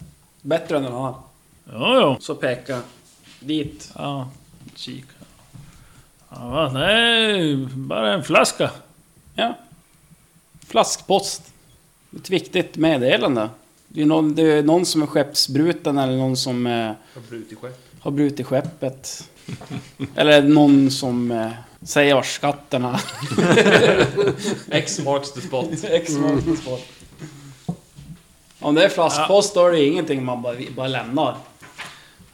Bättre än den har.
Ja, ja.
Så peka dit.
Ja, kika. Ja, va? nej, bara en flaska.
Ja. Flaskpost. Ett viktigt meddelande. Det är någon, det är någon som är skeppsbruten eller någon som eh,
Har brutit skepp.
har brutit skeppet. eller någon som eh, säger var skatten är.
X marks the spot.
Ex-marknadsfart. Mm. Om det är flaskpost då är det ingenting man bara, bara lämnar.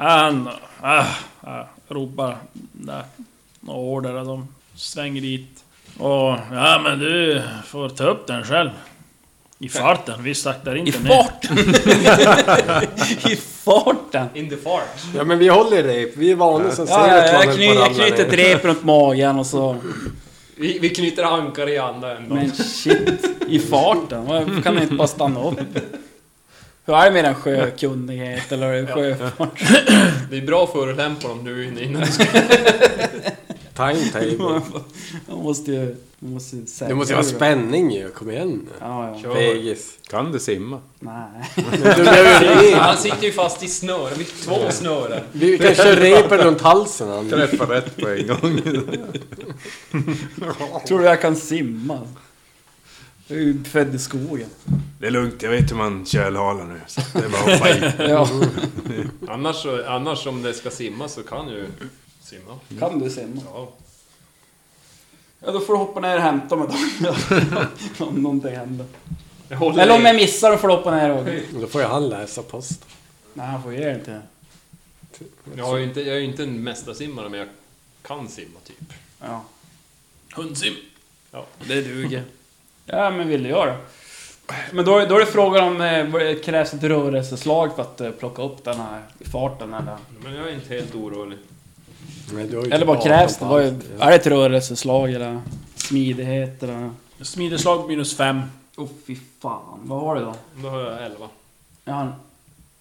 Han ah, ah, ropar där. Några order och de svänger dit. Och ja men du får ta upp den själv. I farten, vi saktar
I
inte
farten! I farten!
In the fart.
Ja men vi håller i rep, vi är vana som
Ja,
ser att man
jag,
höll
kny,
på att
jag
ramla
knyter ett
ner.
rep runt magen och så...
Vi, vi knyter ankare i anden.
Men shit, i farten. Varför kan man inte bara stanna upp? Hur är det med den sjökunnighet eller sjöfart?
Det är bra för att lämpa dem nu innan du ska...
Timetable.
Man måste ju... Man måste ju säkra
Det måste ju vara
det.
spänning ju, kom igen nu.
Ja, ja.
Fegis.
Kan du simma?
Nej.
Du behöver rep.
Han sitter ju fast i snören. Vi har två snören.
Vi kan köra repen runt halsen han.
Träffa rätt på en gång.
Tror du jag kan simma? Jag är ju född i skogen.
Det är lugnt, jag vet hur man kölhalar nu. Så det är bara att hoppa i.
Ja.
Annars, så- annars om det ska simma så kan ju simma.
Kan du simma?
Ja.
Ja, då får du hoppa ner och hämta mig då. om någonting händer.
Jag håller
Eller om
i.
jag missar då får du hoppa ner och... Nej,
Då får ju han läsa post.
han får ju det inte.
Jag, har ju inte, jag är ju inte en mästarsimmare men jag kan simma typ.
Ja.
Hundsim.
Det duger. Ja, men vill du göra det? Men då, då är det frågan om eh, vad det krävs ett rörelseslag för att eh, plocka upp den här i farten eller?
Men jag är inte helt orolig.
Men du har ju
Eller vad
inte
krävs det?
apan
Vad
på
är,
allt.
är det ett rörelseslag eller smidighet eller?
Smideslag minus fem.
Åh fy fan, vad har du då?
Då har jag 11.
Jag har...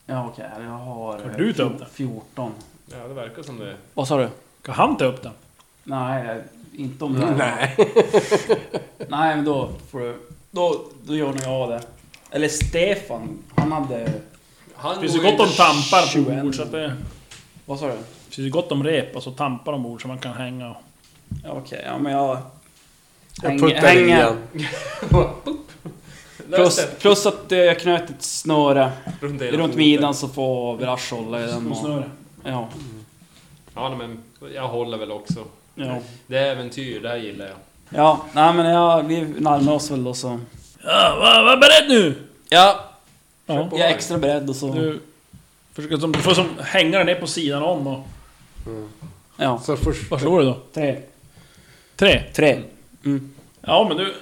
Ja okej, jag har...
Har du tagit
eh,
den?
14.
Ja, det verkar som det.
Vad sa du?
Kan han ta upp den?
Nej, jag- inte om det här. Nej. Nej, men då får du... Då, då gör nog jag det. Eller Stefan, han hade...
Han
Det finns ju
går ju
gott om
inte-
tampar på
21.
bord så att det...
Vad sa du?
Det finns ju gott om rep och så tampar ombord så man kan hänga och...
Ja, okej, ja men jag...
Jag
häng-
puttar i
hänger.
igen.
Plus, plus att eh, jag knöt ett snöre
Runt, hela
runt
foten.
midjan så får Virash hålla i den. Och,
Snöre.
ja,
Ja, men jag håller väl också.
ja.
Det är äventyr, det här gillar jag.
Ja, nej men jag, vi närmar oss väl då så.
Ja, var, var beredd nu!
Ja,
Ja.
jag är extra beredd och så.
Du, försöker som, du får som hänga den ner på sidan om och...
Ja,
Så först...
Vad slår du då?
tre.
Tre?
Tre.
Ja men du...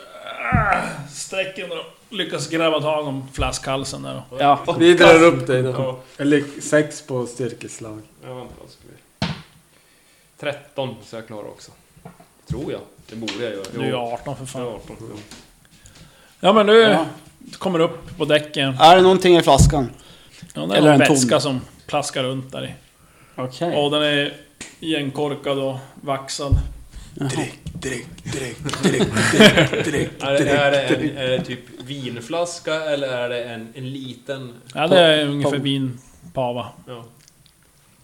ah, Sträcker under och lyckas grabba tag om flaskhalsen där då.
Ja,
Vi drar upp dig då. Eller sex på styrkeslag.
Jag var en bra skulle. 13 så jag klarar också. Tror jag. Det borde jag göra.
Du är ju 18 för
Jag är
fan.
18. Jo.
Ja men du
Ja.
kommer upp på däcken.
är det någonting i flaskan?
Ja, det är
Eller
Eller en
en tom.
vätska som plaskar runt där i.
Okej.
Ja den är igenkorkad och vaxad.
Är, det, är, det en, är det typ vinflaska eller är det en, en liten...
Ja det är ungefär vinpava.
Ja.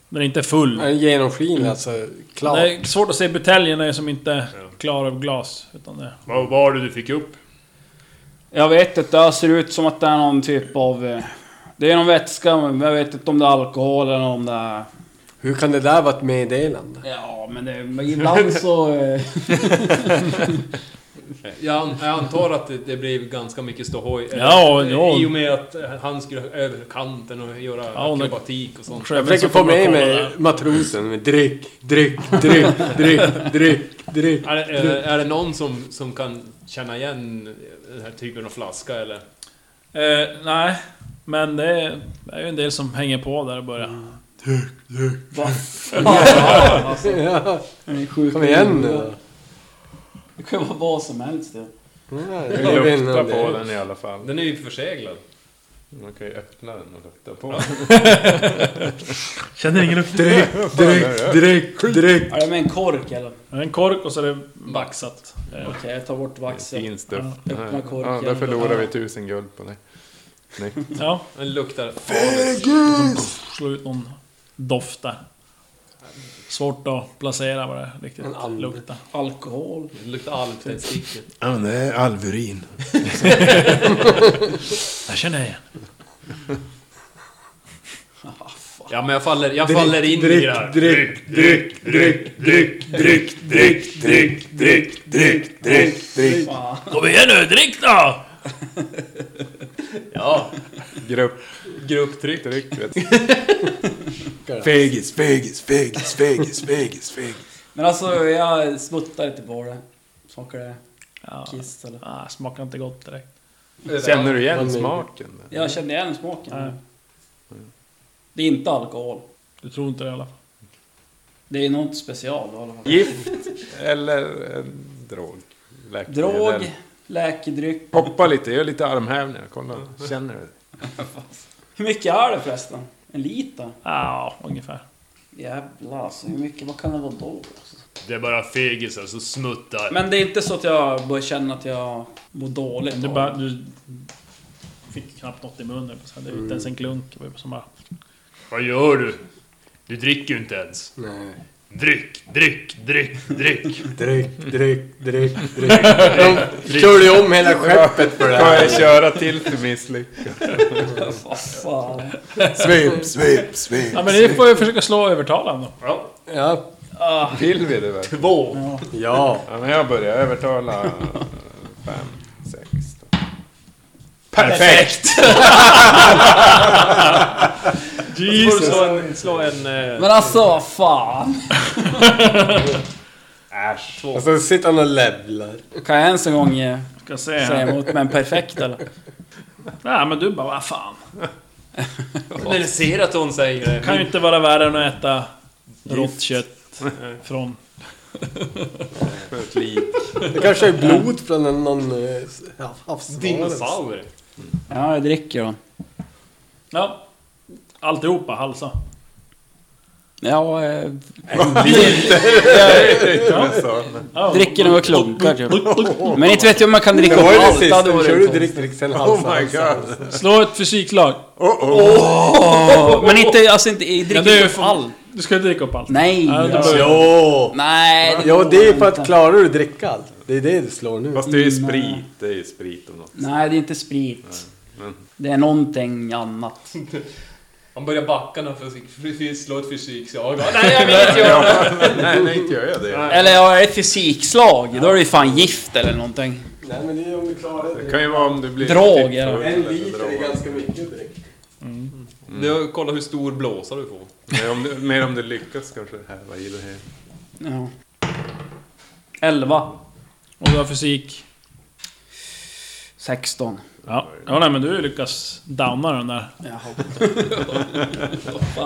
Den är inte full.
En
Mm.
genomskinlig alltså, klar.
Det är svårt att se buteljen är som inte är klar av glas. Utan det...
Vad var det du fick upp?
Jag vet inte, det ser ut som att det är någon typ av... eh, Det är någon vätska, men jag vet inte om det är alkohol eller om det är...
Hur kan det där vara ett meddelande?
Ja, men, det, men ibland så... eh,
Eh, Jag, an, jag antar att det, det blev ganska mycket ståhoj. eller-
Ja, ja.
I och med att eh, han skulle över kanten och göra
Ja, hon är-
akrobatik och sånt.
Jag försöker få med mig
mig.
matrosen med dryck, dryck, dryck, dryck, dryck, dryck.
Är, är, är det någon som, som kan känna igen den här typen av flaska eller?
Eh, nej. Men det är, det är ju en del som hänger på där och börjar.
Ja,
Den är sjuk.
kom igen nu.
Det kan ju vara vad som helst det.
Vi luktar
på den i alla fall.
Den är ju förseglad.
Man kan ju öppna den och lukta på den.
Känner ingen lukt.
Dryck, dryck, dryck!
Är det med en kork eller? Okej,
En kork och så är det vaxat. Eh,
jag tar bort vaxet.
Fin stuff.
Öppna korken.
Ja, där förlorar vi tusen guld på det. Nej.
Ja,
Den luktar...
slå ut någon doft där. Svårt att placera vad det riktigt luktar.
Alkohol.
Den luktar alvtändstickor.
Ja, men det är Alverin.
Jag känner jag igen.
Ja men jag faller, jag faller in i det här.
dryck, dryck, dryck, dryck, dryck, dryck, dryck, dryck, dryck, dryck, dryck.
Kom igen nu, drick då!
Grupp. Grupptryck. Tryck, vet du. Fegis, fegis, fegis, fegis, fegis, fegis.
Men alltså jag smuttar lite på det. Smakar det
Ja,
kiss eller?
ah, smakar inte gott direkt.
Känner du igen smaken?
Jag känner igen smaken.
Nej.
Det är inte alkohol.
Du tror inte det i alla fall.
Det är något special i alla fall.
Gift eller en drog? Läkemedel.
Drog, läkedryck.
Hoppa lite, gör lite armhävningar. Kolla, känner du det?
Hur mycket är det förresten? En liter?
Ja, ungefär.
Jävlar alltså, hur mycket, vad kan det vara då? Alltså?
Det är bara fegisar som smuttar.
Men det är inte så att jag börjar känna att jag mår dåligt.
Du,
av
bara, du fick knappt något i munnen. Så Det är inte ens en klunk. Det var ju Som bara,
Vad gör du? Du dricker ju inte ens.
Nej.
Dryck, dryck, dryck, dryck.
Dryck, dryck, dryck, dryck. De körde ju om hela skeppet för det
Får
här.
jag köra till till misslyck?
det. Vad fan.
Svep, svep, svep.
ja, men ni får ju försöka slå övertalaren då.
Ja.
Vill vi det väl?
Två!
Ja.
Ja, men jag börjar övertala fem, sex. då.
Perfekt!
Jesus. Får du slå en... Slå en eh,
Men alltså vad fan.
Och så sitter han och levlar.
Kan jag ens en gång eh,
Ska se här.
säga emot men perfekt eller?
Nej men du bara, vad fan.
men ser att hon säger det.
Kan ju inte vara värre än att äta rått kött från...
För ett lik.
Det kanske är blod från en- någon eh, havsvarelse.
Dinosaurer.
Ja, jag dricker då.
Ja. Alltihopa, halsa.
Ja, eh,
Så,
Ja,
dricker några klunkar typ. Men inte vet jag om man kan dricka upp
Vad är det
allt.
sista?
hade
Du
varit
körde
konstigt.
direkt direkt sen halsen.
Oh my god.
Slå ett fysiklag.
Men inte, alltså inte, jag
Ja,
dricker
du,
inte upp allt.
du ska ju dricka upp allt.
Nej! Alltså.
Ja, du börjar-
Jo!
Nej!
Ja,
går
det är för
inte.
att klarar du att dricka allt. Det är det du slår nu.
Fast det är ju sprit. Det är ju sprit om något.
Nej, det är inte sprit. Det är någonting annat.
Han börjar backa när han försöker slå ett fysikslag.
Nej, nej, inte gör jag det.
Eller ja, ett fysikslag. Då är det ju fan gift eller någonting.
Nej, men det är om du klarar
Det kan ju vara om du blir...
Drag eller...
En liter är ganska mycket direkt.
Nu Kolla hur stor blåsa du får.
Nej, om du, mer om du lyckas kanske Äh, härva i det här.
Ja. Elva.
Och du har fysik.
16.
Ja. ja, nej men du lyckas downa den där.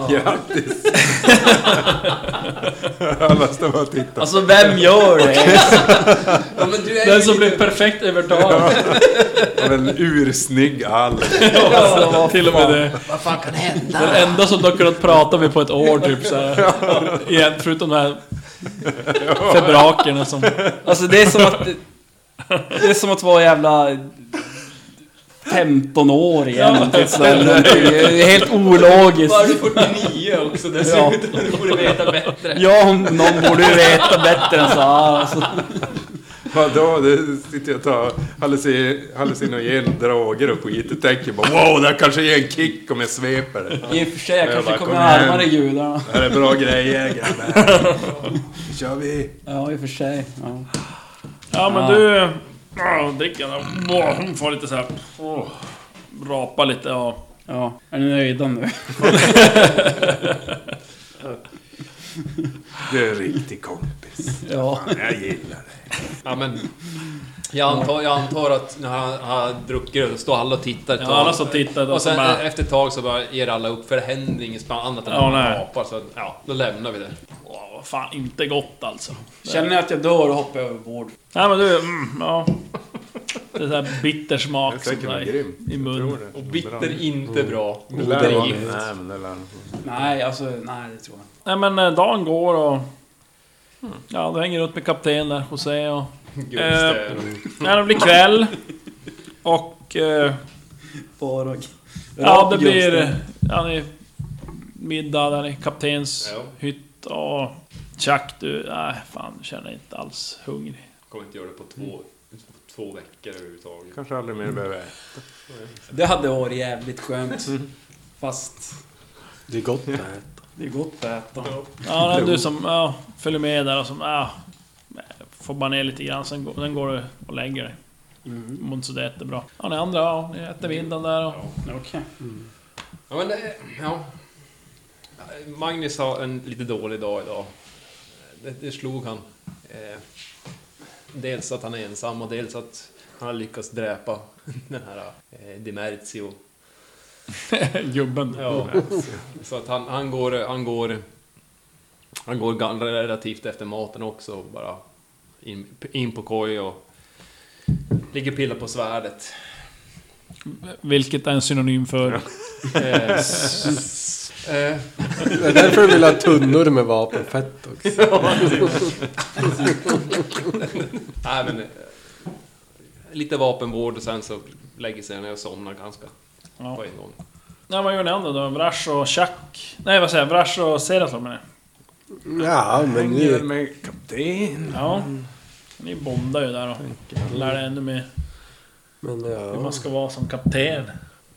Grattis! Alla står bara och tittar.
Alltså vem gör det?
Den som blev perfekt övertalad.
Av en ursnygg all.
Till och med det. Vad fan kan hända? Den enda som du har kunnat prata med på ett år typ så här. Igen, Förutom de här febrakerna som...
Alltså det är som att... Det är som att vara jävla... 15 år igen. Typ sådär, någonting. det är helt ologiskt.
49 också
Ja.
dessutom. Du borde veta bättre.
Ja, om någon borde ju veta bättre än så här. Alltså.
Vadå? Det sitter jag och tar halluci- hallucinogen droger och skit och tänker bara wow, det här kanske ger en kick om jag sveper det.
I och för sig, jag
Jag
kanske
bara,
kommer
kom igen.
närmare gudarna.
Det här är bra grejer grabbar. Nu kör vi!
Ja, i och för sig. Ja.
Ja men du... Ja, dricka då. Åh, Hon får lite så här... åh, Rapa lite och...
ja. Är ni nöjda nu?
Du är en riktig kompis.
Ja.
Fan, jag gillar dig.
Ja, men, jag, antar, jag antar att när han har druckit öl, så står alla och tittar ett
Ja,
tag.
alla står och tittar, och
Och sen
så bara-
efter ett tag så bara ger alla upp, för det händer inget spännande annat än
Ja,
att man
nej.
apar. Så att, ja, då lämnar vi det.
Åh, vad fan, inte gott alltså.
Känner jag att jag dör hoppar jag överbord.
Nej men du, mm, ja. Det är där bitter smak som
Säkert var
där i-
grym.
i munnen.
Och bitter inte bra.
Det lär vara-
gift.
Nej, men det lär vara.
Nej, alltså nej det tror jag inte.
Nej men eh, dagen går och... Ja, du hänger runt med kapten där, José och... Eh, när det blir kväll. Och... Eh,
Bara och...
ja, det blir... Ja, det är middag där i kaptens hytt och... Tjack, du... Nej, fan, jag känner inte alls hungrig.
Kommer inte göra det på två, två veckor överhuvudtaget.
Kanske aldrig mer behöver
Det hade varit jävligt skönt.
Mm.
Fast
Det är gott med
det är gott att äta.
Ja, nej, du som ja, följer med där och som... Ja, får bara ner lite grann, sen går, sen går du och lägger dig. Mår inte sådär jättebra. Ja, ni andra, ja, ni äter middagen där och...
Okej.
Ja, men det, ja. Magnus har en lite dålig dag idag. Det, det slog han. Eh, dels att han är ensam och dels att han har lyckats dräpa den här eh, Dimerzio.
Gubben.
Ja. Så att han, han går, han går, han går gan- relativt efter maten också och bara in, in på koj och ligger och pillar på svärdet.
Vilket är en synonym för...
Eh, s- eh,
Det är därför du vill ha tunnor med vapenfett också.
Nej, men, eh, lite vapenvård och sen så lägger sig ner och somnar ganska
Ja.
på en gång.
Nej, vad gör ni andra då? Vrash och Chuck? Nej, vad säger jag? Vrash och Seratlon menar jag.
Ja, men
Hänger
ni,
med kapten.
Ja. Ni bondar ju där och lär er ännu mer
men
hur
ja.
man ska vara som kapten.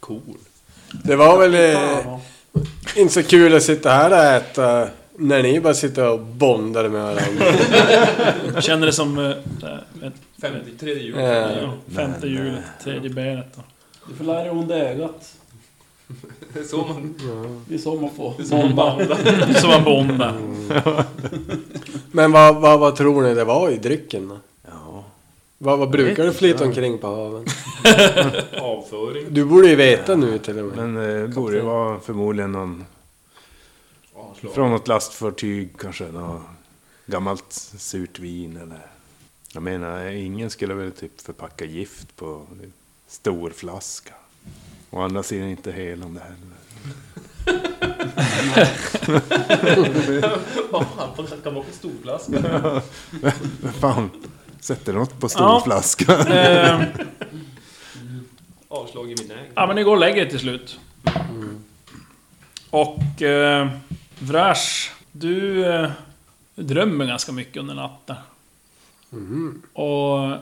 Cool.
Det var väl eh, inte så kul att sitta här och äta när ni bara sitter och bondar med varandra.
Känner det som... eh, ett-
53 jul.
Eh,
ja, Femte hjulet, tredje benet. då.
Du får lära dig onda ögat.
Så man...
Det är så man får.
Så man bondar.
Men vad, vad, vad tror ni det var i drycken då?
Ja.
Vad, vad brukar du flyta omkring på haven?
Avföring.
Du borde ju veta nu till och med.
Men eh, det borde ju vara förmodligen någon... Från något lastfartyg kanske. Något gammalt surt vin eller... Jag menar, ingen skulle väl typ förpacka gift på en stor flaska. Å andra sidan inte hel om det heller.
Han får kan vara på storflaska.
Men fan, sätter något på stor
Ja.
flaska.
Eh,
Avslag i vinäger.
Ja men ni går och lägger er till slut. Och... Eh, Vrash, du, eh, du drömmer ganska mycket under natten. Och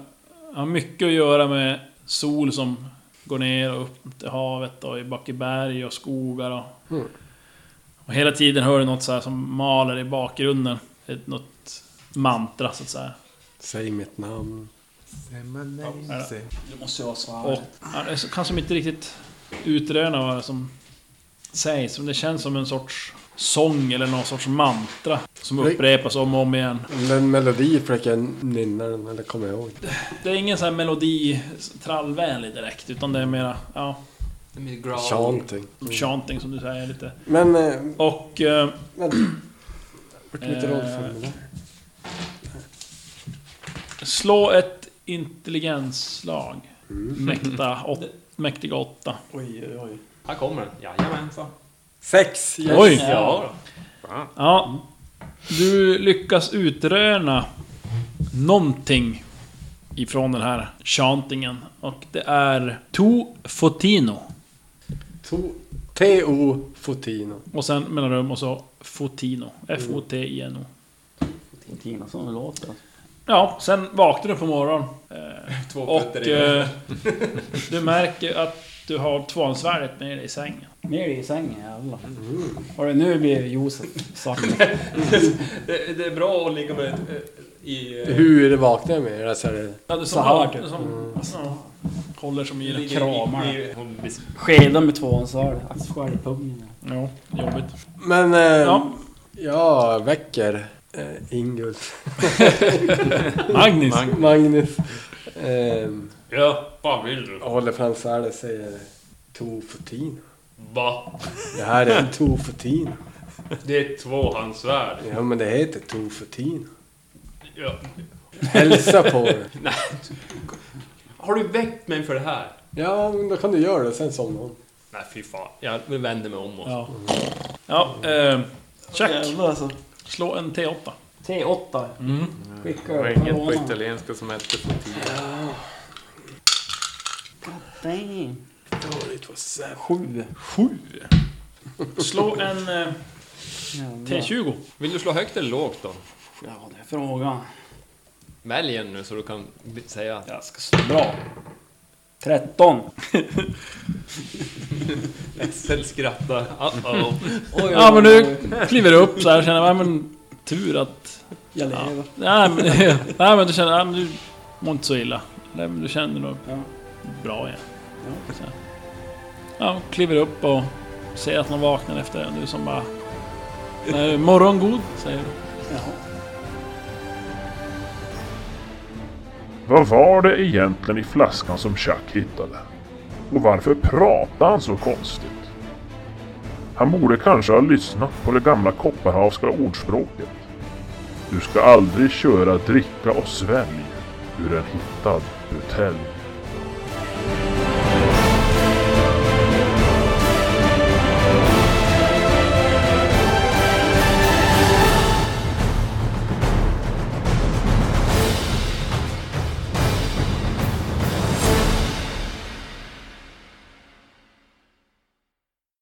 har mycket att göra med sol som går ner och upp till havet och i bak i berg och skogar och... Och hela tiden hör du något så här som maler i bakgrunden. Ett, något mantra så att säga.
Säg mitt namn.
Det måste ju vara så här.
Och ja, det är så- kanske inte riktigt utröna vad det som sägs, men det känns som en sorts sång eller någon sorts mantra som
Nej.
upprepas om och om igen.
Den melodi försöker jag nynna den, eller kommer jag ihåg.
Det är ingen sån här melodi trallvänlig direkt, utan det är mera, ja,
Chanting.
chanting som du säger lite.
Men, eh,
Och... Eh,
vänta. Vart mitt
Eh.
rollfilm då?
slå ett intelligensslag. Mäkta åt, mäktiga åtta.
Oj, oj, oj.
Här kommer den. Jajamensan.
Sex! Yes.
Oj!
Ja,
Ja. Du lyckas utröna någonting ifrån den här chantingen. Och det är To Fotino.
To- T.O. Fotino.
Och sen mellanrum och så Fotino. F-O-T-I-N-O.
Tina som låter.
Ja, sen vaknade du på morgonen. Eh,
Två
och
fötter i
eh, du märker att du har tvåansvärdet med dig i sängen.
Ner i sängen jävlar.
Mm.
Har det nu blir Josef sagt.
det, det är bra att ligga med eh, i... eh,
Hur vaknar jag med det? Alltså, är det-
Ja, du som,
Så här,
har-
typ.
du som ja, håller som i
ligger i-
dina kramar.
i- hon bes-
Skeda med tvåan så är det. Axskär i pungen.
Ja, jobbigt.
Men eh,
Ja.
Jag väcker eh, Ingulf.
Magnus!
Magnus. Eh,
Ja, vad vill du?
håller fram svärdet och säger Tofutin.
Va?
Det här är Tofutin.
Det är ett tvåhandsvärd.
Ja men det heter Tofutin.
Ja.
Hälsa på det.
Nej. Har du väckt mig för det här?
Ja men då kan du göra det sen somnar hon.
Nej, fy fan. Jag vänder mig om och...
Ja, ja eh, check.
Jävlar alltså.
Slå en T8.
T8.
Mm.
Det
Skicka
var
upp
inget på
corona.
italienska som hette för tio.
Damn.
Sju. Sju? Slå en eh,
Jävlar.
T20.
Vill du slå högt eller lågt då?
Ja, det är frågan.
Välj en nu så du kan säga...
Jag ska slå bra. 13.
Axel skrattar. Uh-oh.
Oj,
Ja
oj,
men
oj,
du
oj.
kliver upp så här känner jag, men tur att...
Jag lever.
Nej men, nej, men du känner, nej, men du mår inte så illa. Nej, men du känner nog
Ja.
bra igen. Så här. Ja, kliver upp och ser att någon vaknar efter en. Du som bara... "Nej, Morgon god, säger du.
Jaha.
Vad var det egentligen i flaskan som Chuck hittade? Och varför pratade han så konstigt? Han borde kanske ha lyssnat på det gamla kopparhavska ordspråket. Du ska aldrig köra dricka och svälj ur en hittad butelj.